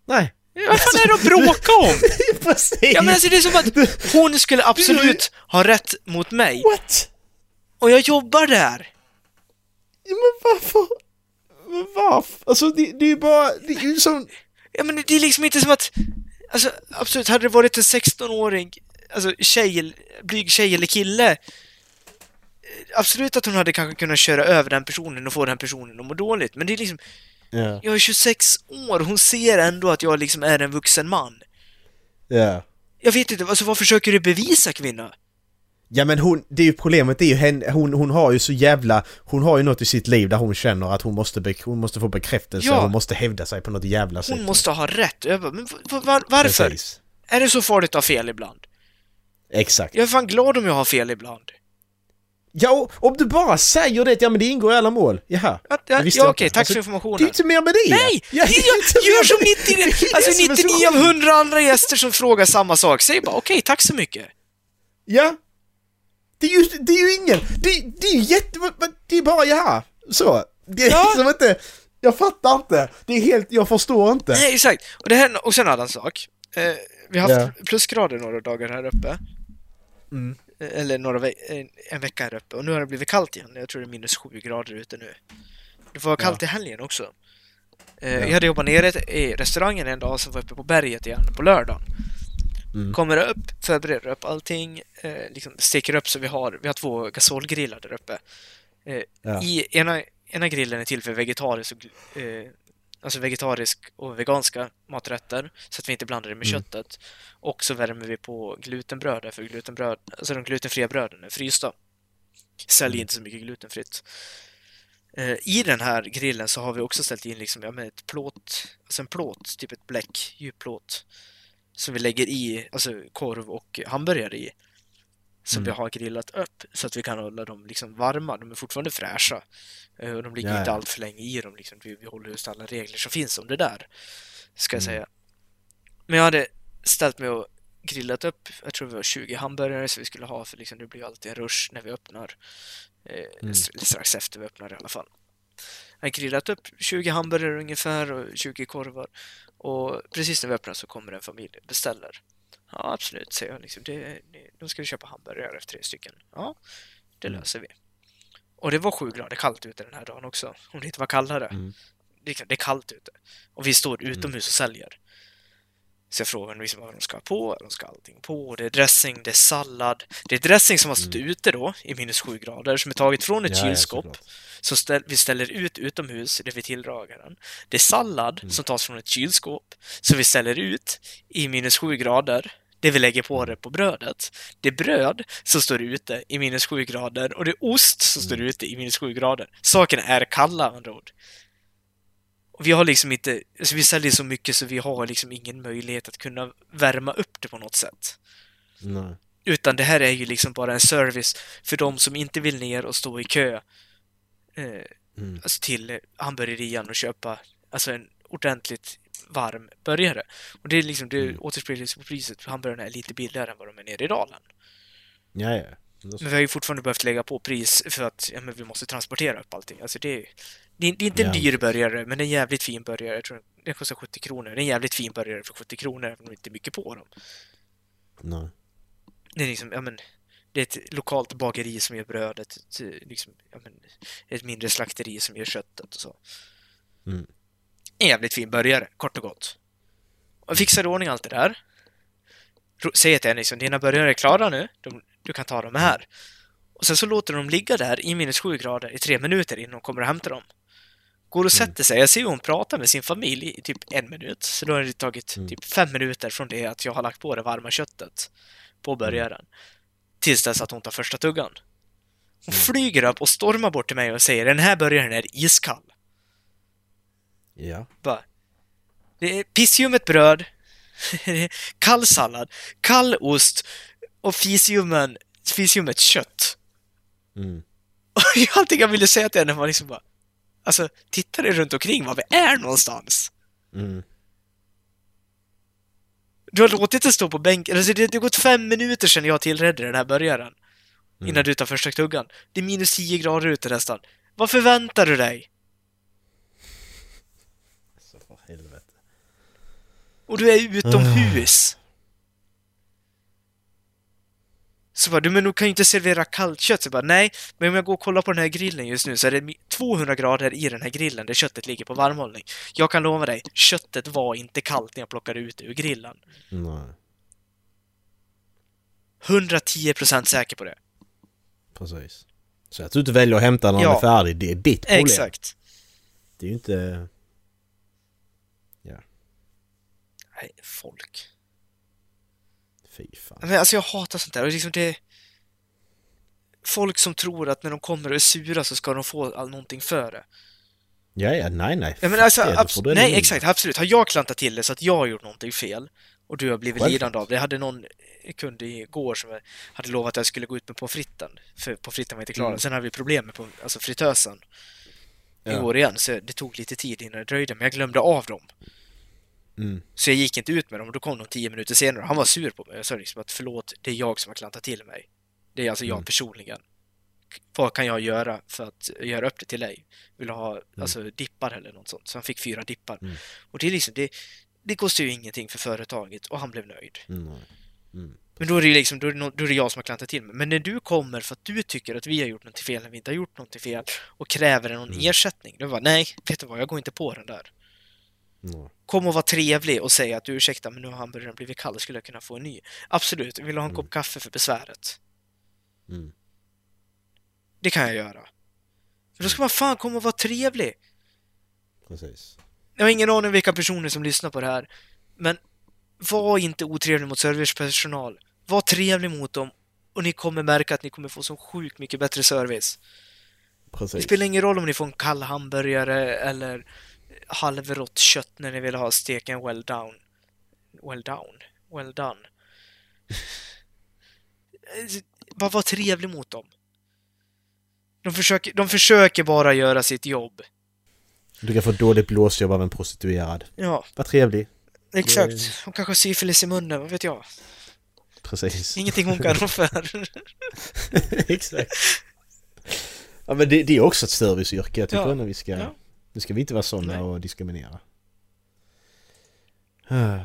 S2: Nej.
S1: Ja, Vad fan är det att bråka om?
S2: Precis!
S1: Ja, men alltså, det är som att hon skulle absolut ha rätt mot mig.
S2: What?
S1: Och jag jobbar där!
S2: Ja, men varför? Men varför? Alltså det, det är ju bara, det är ju som...
S1: Ja, men det är liksom inte som att... Alltså, absolut, hade det varit en 16-åring, alltså tjej, eller- blyg tjej eller kille, eh, absolut att hon hade kanske kunnat köra över den personen och få den personen att må dåligt. Men det är liksom,
S2: Ja.
S1: jag är 26 år, hon ser ändå att jag liksom är en vuxen man.
S2: Ja.
S1: Jag vet inte, alltså vad försöker du bevisa kvinna?
S2: Ja men hon, det är ju problemet, det är ju henne, hon, hon har ju så jävla, hon har ju något i sitt liv där hon känner att hon måste, be, hon måste få bekräftelse,
S1: Ja.
S2: hon måste hävda sig på något jävla sätt.
S1: Hon måste ha rätt. Jag bara, men va- va- varför?
S2: Precis.
S1: Är det så farligt att ha fel ibland?
S2: Exakt.
S1: Jag är fan glad om jag har fel ibland.
S2: Ja, och om du bara säger det, ja men det ingår i alla mål. Jaha.
S1: Ja,
S2: Det
S1: ja,
S2: visste
S1: ja
S2: jag
S1: okej,
S2: inte.
S1: tack för
S2: Alltså, Det är ju
S1: informationen.
S2: inte mer med det!
S1: Nej!
S2: Ja, det är ju inte
S1: Jag
S2: mer
S1: gör som
S2: med det. Det är
S1: 90,
S2: det
S1: alltså
S2: som är så
S1: 99 av
S2: sjukt.
S1: 100 andra gäster som frågar samma sak. Säg bara okej, tack så mycket.
S2: Ja! Det är ju, det är ju ingen, det, det är ju jätte, vad- vad- det är bara jaha. Så. Det är
S1: Ja.
S2: liksom inte, jag fattar inte. Det är helt, jag förstår inte.
S1: Nej, exakt. Och, det här, och sen en annan sak. Eh, vi har haft
S2: Ja.
S1: plusgrader några dagar här uppe.
S2: Mm.
S1: Eh, Eller några ve- en, en vecka här uppe. Och nu har det blivit kallt igen. Jag tror det är minus 7 grader ute nu. Det var kallt i helgen också. Eh, Jag hade jobbat nere i restaurangen en dag, sen var jag uppe på berget igen på lördagen.
S2: Mm.
S1: Kommer upp, förbereder upp allting, eh, liksom steker upp så vi har, vi har två gasolgrillar där uppe. Eh,
S2: Ja.
S1: I ena, ena grillen är till för vegetariskt och gl- eh, alltså vegetarisk och veganska maträtter så att vi inte blandar det med
S2: Mm.
S1: köttet. Och så värmer vi på glutenbröd för glutenbröd, alltså de glutenfria bröden är frysta.
S2: Mm.
S1: Säljer inte så mycket glutenfritt. Eh, I den här grillen så har vi också ställt in liksom, ja, men ett plåt, alltså en plåt, typ ett bläck, djupplåt som vi lägger i, alltså korv och hamburgare i som
S2: Mm.
S1: vi har grillat upp så att vi kan hålla dem liksom varma. De är fortfarande fräscha eh, och de ligger
S2: Ja,
S1: inte
S2: ja.
S1: allt för länge i dem. Liksom. Vi, vi håller just alla regler som finns om det där, ska jag
S2: Mm.
S1: säga. Men jag hade ställt mig och grillat upp, jag tror vi var 20 hamburgare som vi skulle ha för liksom, det blir ju alltid en rush när vi öppnar. Eh,
S2: Mm.
S1: s- Strax efter vi öppnar i alla fall. Jag har grillat upp 20 hamburgare ungefär och 20 korvar. Och precis när vi öppnar så kommer en familj och beställer. Ja, absolut, säger jag. Liksom, det, det, de skulle köpa hamburgare, tre stycken. Ja, det
S2: Mm.
S1: löser vi. Och det var sju grader kallt ute den här dagen också. Om det inte var kallare.
S2: Mm.
S1: Det, är- det är kallt ute. Och vi står utomhus och säljer. Så jag frågar liksom vad de ska ha på, de ska ha allting på. Det är dressing, det är sallad. Det är dressing som har stått ute då, i minus sju grader, som är taget från ett
S2: Mm. Ja, ja,
S1: kylskåp.
S2: såklart.
S1: som ställ, vi ställer ut utomhus, där vi tillagar den. Det är sallad som tas från ett kylskåp, som vi ställer ut i minus sju grader. Det vi lägger på det på brödet. Det är bröd som står ute i minus sju grader och det är ost som står ute i minus sju grader. Sakerna är kalla med andra ord. Och Vi har liksom inte, alltså vi säljer så mycket så vi har liksom ingen möjlighet att kunna värma upp det på något sätt.
S2: Nej.
S1: Utan det här är ju liksom bara en service för de som inte vill ner och stå i kö eh,
S2: Mm.
S1: alltså till hamburgerian och köpa alltså en ordentligt varm burgare. Och det är liksom, det
S2: Mm.
S1: återspeglas på priset. Hamburgarna är lite billigare än vad de är nere i Dalen.
S2: Ja, ja. Men då så.
S1: Men vi har ju fortfarande behövt lägga på pris för att ja, men vi måste transportera upp allting. Alltså det, är- det, är- det är inte en
S2: Ja.
S1: dyr burgare, men en jävligt fin burgare. Jag tror den- den kostar 70 kronor. Det är en jävligt fin burgare för 70 kronor, även om det inte är mycket på dem.
S2: Nej.
S1: Det är liksom, ja men, det är ett lokalt bageri som gör brödet, ett, eh, liksom, ja men, ett mindre slakteri som gör köttet och så.
S2: Mm.
S1: En jävligt fin burgare, kort och gott. Och jag fixar i ordning allt det där. Ro- Säger till henne liksom, dina burgare är klara nu, de, du kan ta dem här. Och sen så låter de ligga där i minus 7 grader i tre minuter innan de kommer och hämtar dem. Går och sätter sig. Jag ser hur hon pratar med sin familj i typ en minut. Så då har det tagit
S2: Mm.
S1: typ fem minuter från det att jag har lagt på det varma köttet på burgaren. Tills dess att hon tar första tuggan. Hon flyger upp och stormar bort till mig och säger den här burgaren är iskall.
S2: Ja.
S1: Bara, det är pissljummet bröd, kall sallad, kall ost och fisljummen, fisljummet kött.
S2: Mm.
S1: Och allting jag ville säga till henne var liksom bara, alltså titta dig runt omkring var vi är någonstans.
S2: Mm.
S1: Du har låtit det stå på bänken, alltså det det har gått fem minuter sedan jag tillredde den här burgaren.
S2: Mm.
S1: Innan du tar första tuggan. Det är minus 10 grader ute nästan. Vad förväntar du dig?
S2: Så för helvete.
S1: Och du är utomhus. Så bara, du men du kan ju inte servera kallt kött. Så bara, nej, men om jag går och kollar på den här grillen just nu så är det mi- 200 grader i den här grillen där köttet ligger på varmhållning. Jag kan lova dig, köttet var inte kallt när jag plockade ut det ur grillen.
S2: Nej.
S1: 110% säker på det.
S2: Precis. Så att du inte väljer att hämta när
S1: Ja.
S2: han är färdig, det är ditt problem.
S1: Exakt.
S2: Det är ju inte... Ja,
S1: Nej, folk.
S2: fy fan.
S1: Men alltså jag hatar sånt där. Och liksom det... Folk som tror att när de kommer och är sura så ska de få all- någonting för det.
S2: Ja, ja, nej, nej.
S1: Ja, men
S2: Fuck
S1: alltså,
S2: det, då får
S1: abs-
S2: du
S1: nej,
S2: ändå-
S1: exakt, absolut. Har jag klantat till det så att jag har gjort någonting fel och du har blivit
S2: Självklart.
S1: lidande av det. Jag hade någon kund igår som hade lovat att jag skulle gå ut med pommes fritten, för pommes friten var inte klar.
S2: Mm.
S1: Sen hade vi problem med pommes- alltså fritösen
S2: Ja.
S1: igår igen, så det tog lite tid innan det dröjde, men jag glömde av dem.
S2: Mm.
S1: Så jag gick inte ut med dem och då kom de tio minuter senare och han var sur på mig. Jag sa liksom att förlåt, det är jag som har klantat till mig. Det är alltså jag
S2: Mm.
S1: personligen. Vad kan jag göra för att göra upp det till dig? Vill du ha alltså, dippar eller något sånt? Så han fick fyra dippar.
S2: Mm.
S1: Och det är liksom, det, det kostar ju ingenting för företaget och han blev nöjd.
S2: Mm, nej. Mm.
S1: Men då är det ju liksom, då är det, nå- då är det jag som har klantat till mig. Men när du kommer för att du tycker att vi har gjort något fel när vi inte har gjort något fel och kräver någon
S2: Mm.
S1: ersättning. Då var nej, vet du vad, jag går inte på den där
S2: nej.
S1: kom och var trevlig och säg att du ursäkta men nu har hamburgaren blivit kall, skulle jag kunna få en ny? Absolut, vill du ha en kopp kaffe för besväret?
S2: Mm.
S1: Det kan jag göra. Men då ska man fan komma och vara trevlig!
S2: Precis.
S1: Jag har ingen aning vilka personer som lyssnar på det här, men var inte otrevlig mot servicepersonal. Var trevlig mot dem och ni kommer märka att ni kommer få så sjukt mycket bättre service. Det
S2: Precis.
S1: spelar ingen roll om ni får en kall hamburgare eller halvrått kött när ni vill ha steken well down. Well down? Well done. Eh, Bara var trevlig mot dem. De försöker, de försöker bara göra sitt jobb.
S2: Du kan få dåligt blåsjobb av en prostituerad.
S1: Ja,
S2: Vad trevlig.
S1: exakt. Hon kanske har syfilis i munnen, vad vet jag?
S2: Precis.
S1: Ingenting hon kan rå för.
S2: Exakt. Ja men det, det är också ett serviceyrke. Jag tycker
S1: Ja.
S2: ändå vi ska...
S1: Ja.
S2: Nu ska vi inte vara
S1: Nej.
S2: sådana och diskriminera. Ah.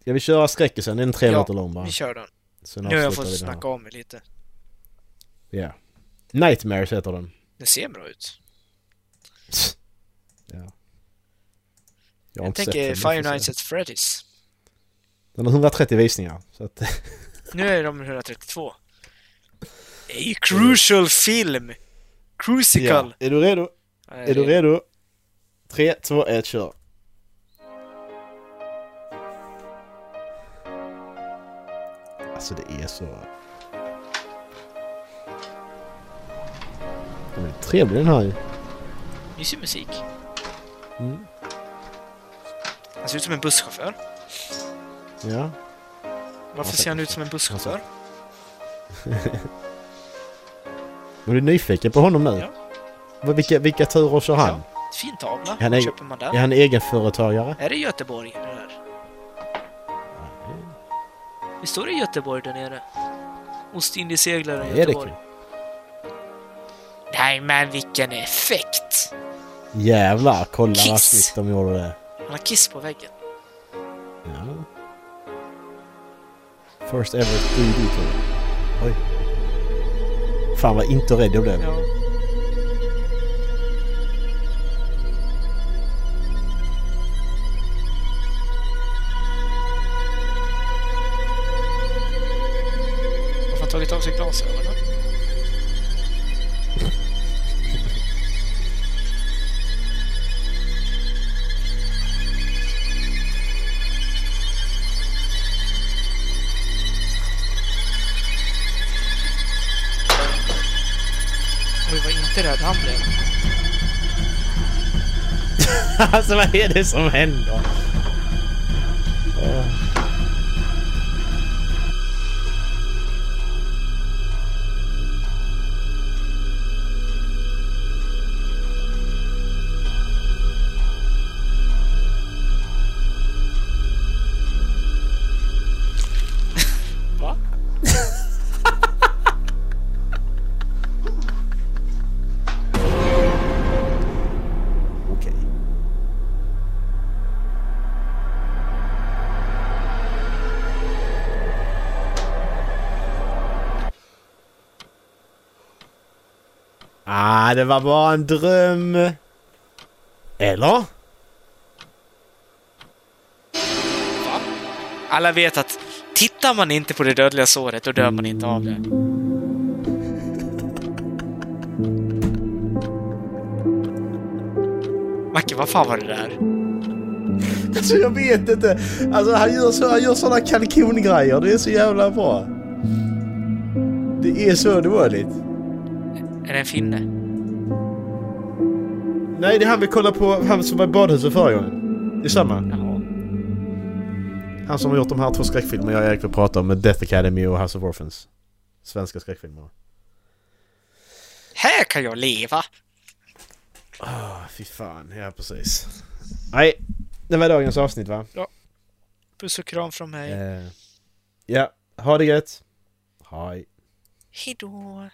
S2: Ska vi köra skräckisen? Den är tre
S1: Ja,
S2: minuter lång bara.
S1: Vi kör den.
S2: Sen
S1: Nu har jag
S2: avslutar
S1: fått
S2: vi den här.
S1: snacka om mig lite.
S2: Ja. Nightmares heter den.
S1: Den ser bra ut.
S2: Ja. Jag har
S1: Jag
S2: inte sett
S1: tänker
S2: den, men
S1: Fire
S2: jag får se.
S1: Nights at Freddy's.
S2: Den har 130 visningar. Så att,
S1: Nu är de 132. A
S2: Mm.
S1: crucial film! Crucical!
S2: Är du redo? Är du redo? 3, 2, 1, kör. Alltså det är så... Den är trevlig den här ju.
S1: Eh, Mysig musik.
S2: Mm.
S1: Han ser ut som en busschaufför.
S2: Ja.
S1: Varför ser han ut som en busschaufför?
S2: Men du är nyfiken på honom nu?
S1: Ja.
S2: Vad- Vilka, vilka turer kör han?
S1: Fin tavla.
S2: Han
S1: Vad
S2: är-
S1: köper man
S2: Är
S1: där?
S2: han egenföretagare?
S1: Är det Göteborg det där? Det står det Göteborg där nere? Ostindieseglaren
S2: Är det
S1: Göteborg.
S2: kul?
S1: Nej men vilken effekt!
S2: Jävlar, kolla vad
S1: Kiss.
S2: snyggt de gjorde det.
S1: Han har kiss på väggen.
S2: Ja. First ever 3D tror jag. Oj. Fan vad inte rädd jag blev.
S1: Ja. Har han tagit av sig glasögonen? Oj, vad inte rädd han blev.
S2: alltså vad är det som händer? Åh.
S1: Va?
S2: Okej. Ah, det var bara en dröm. Eller?
S1: Alla vet att tittar man inte på det dödliga såret, då dör man inte av det. Macke, vad fan var det där?
S2: Alltså jag vet inte. Alltså han gör, så, han gör såna kalkongrejer. Det är så jävla bra. Det är så dåligt.
S1: Är det en finne?
S2: Nej, det är han vi kollade på. Han som var i badhuset förra gången. Det är samma.
S1: Jaha.
S2: Han som har gjort de här två skräckfilmer jag och Erik vill prata om. med Death Academy och House of Orphans. Svenska skräckfilmer.
S1: Här kan jag leva!
S2: Ah, fy fan. Ja, precis. Nej, det var dagens avsnitt va?
S1: Puss och kram från mig.
S2: Eh, ja, ha det gött. Hej.
S1: Hejdå!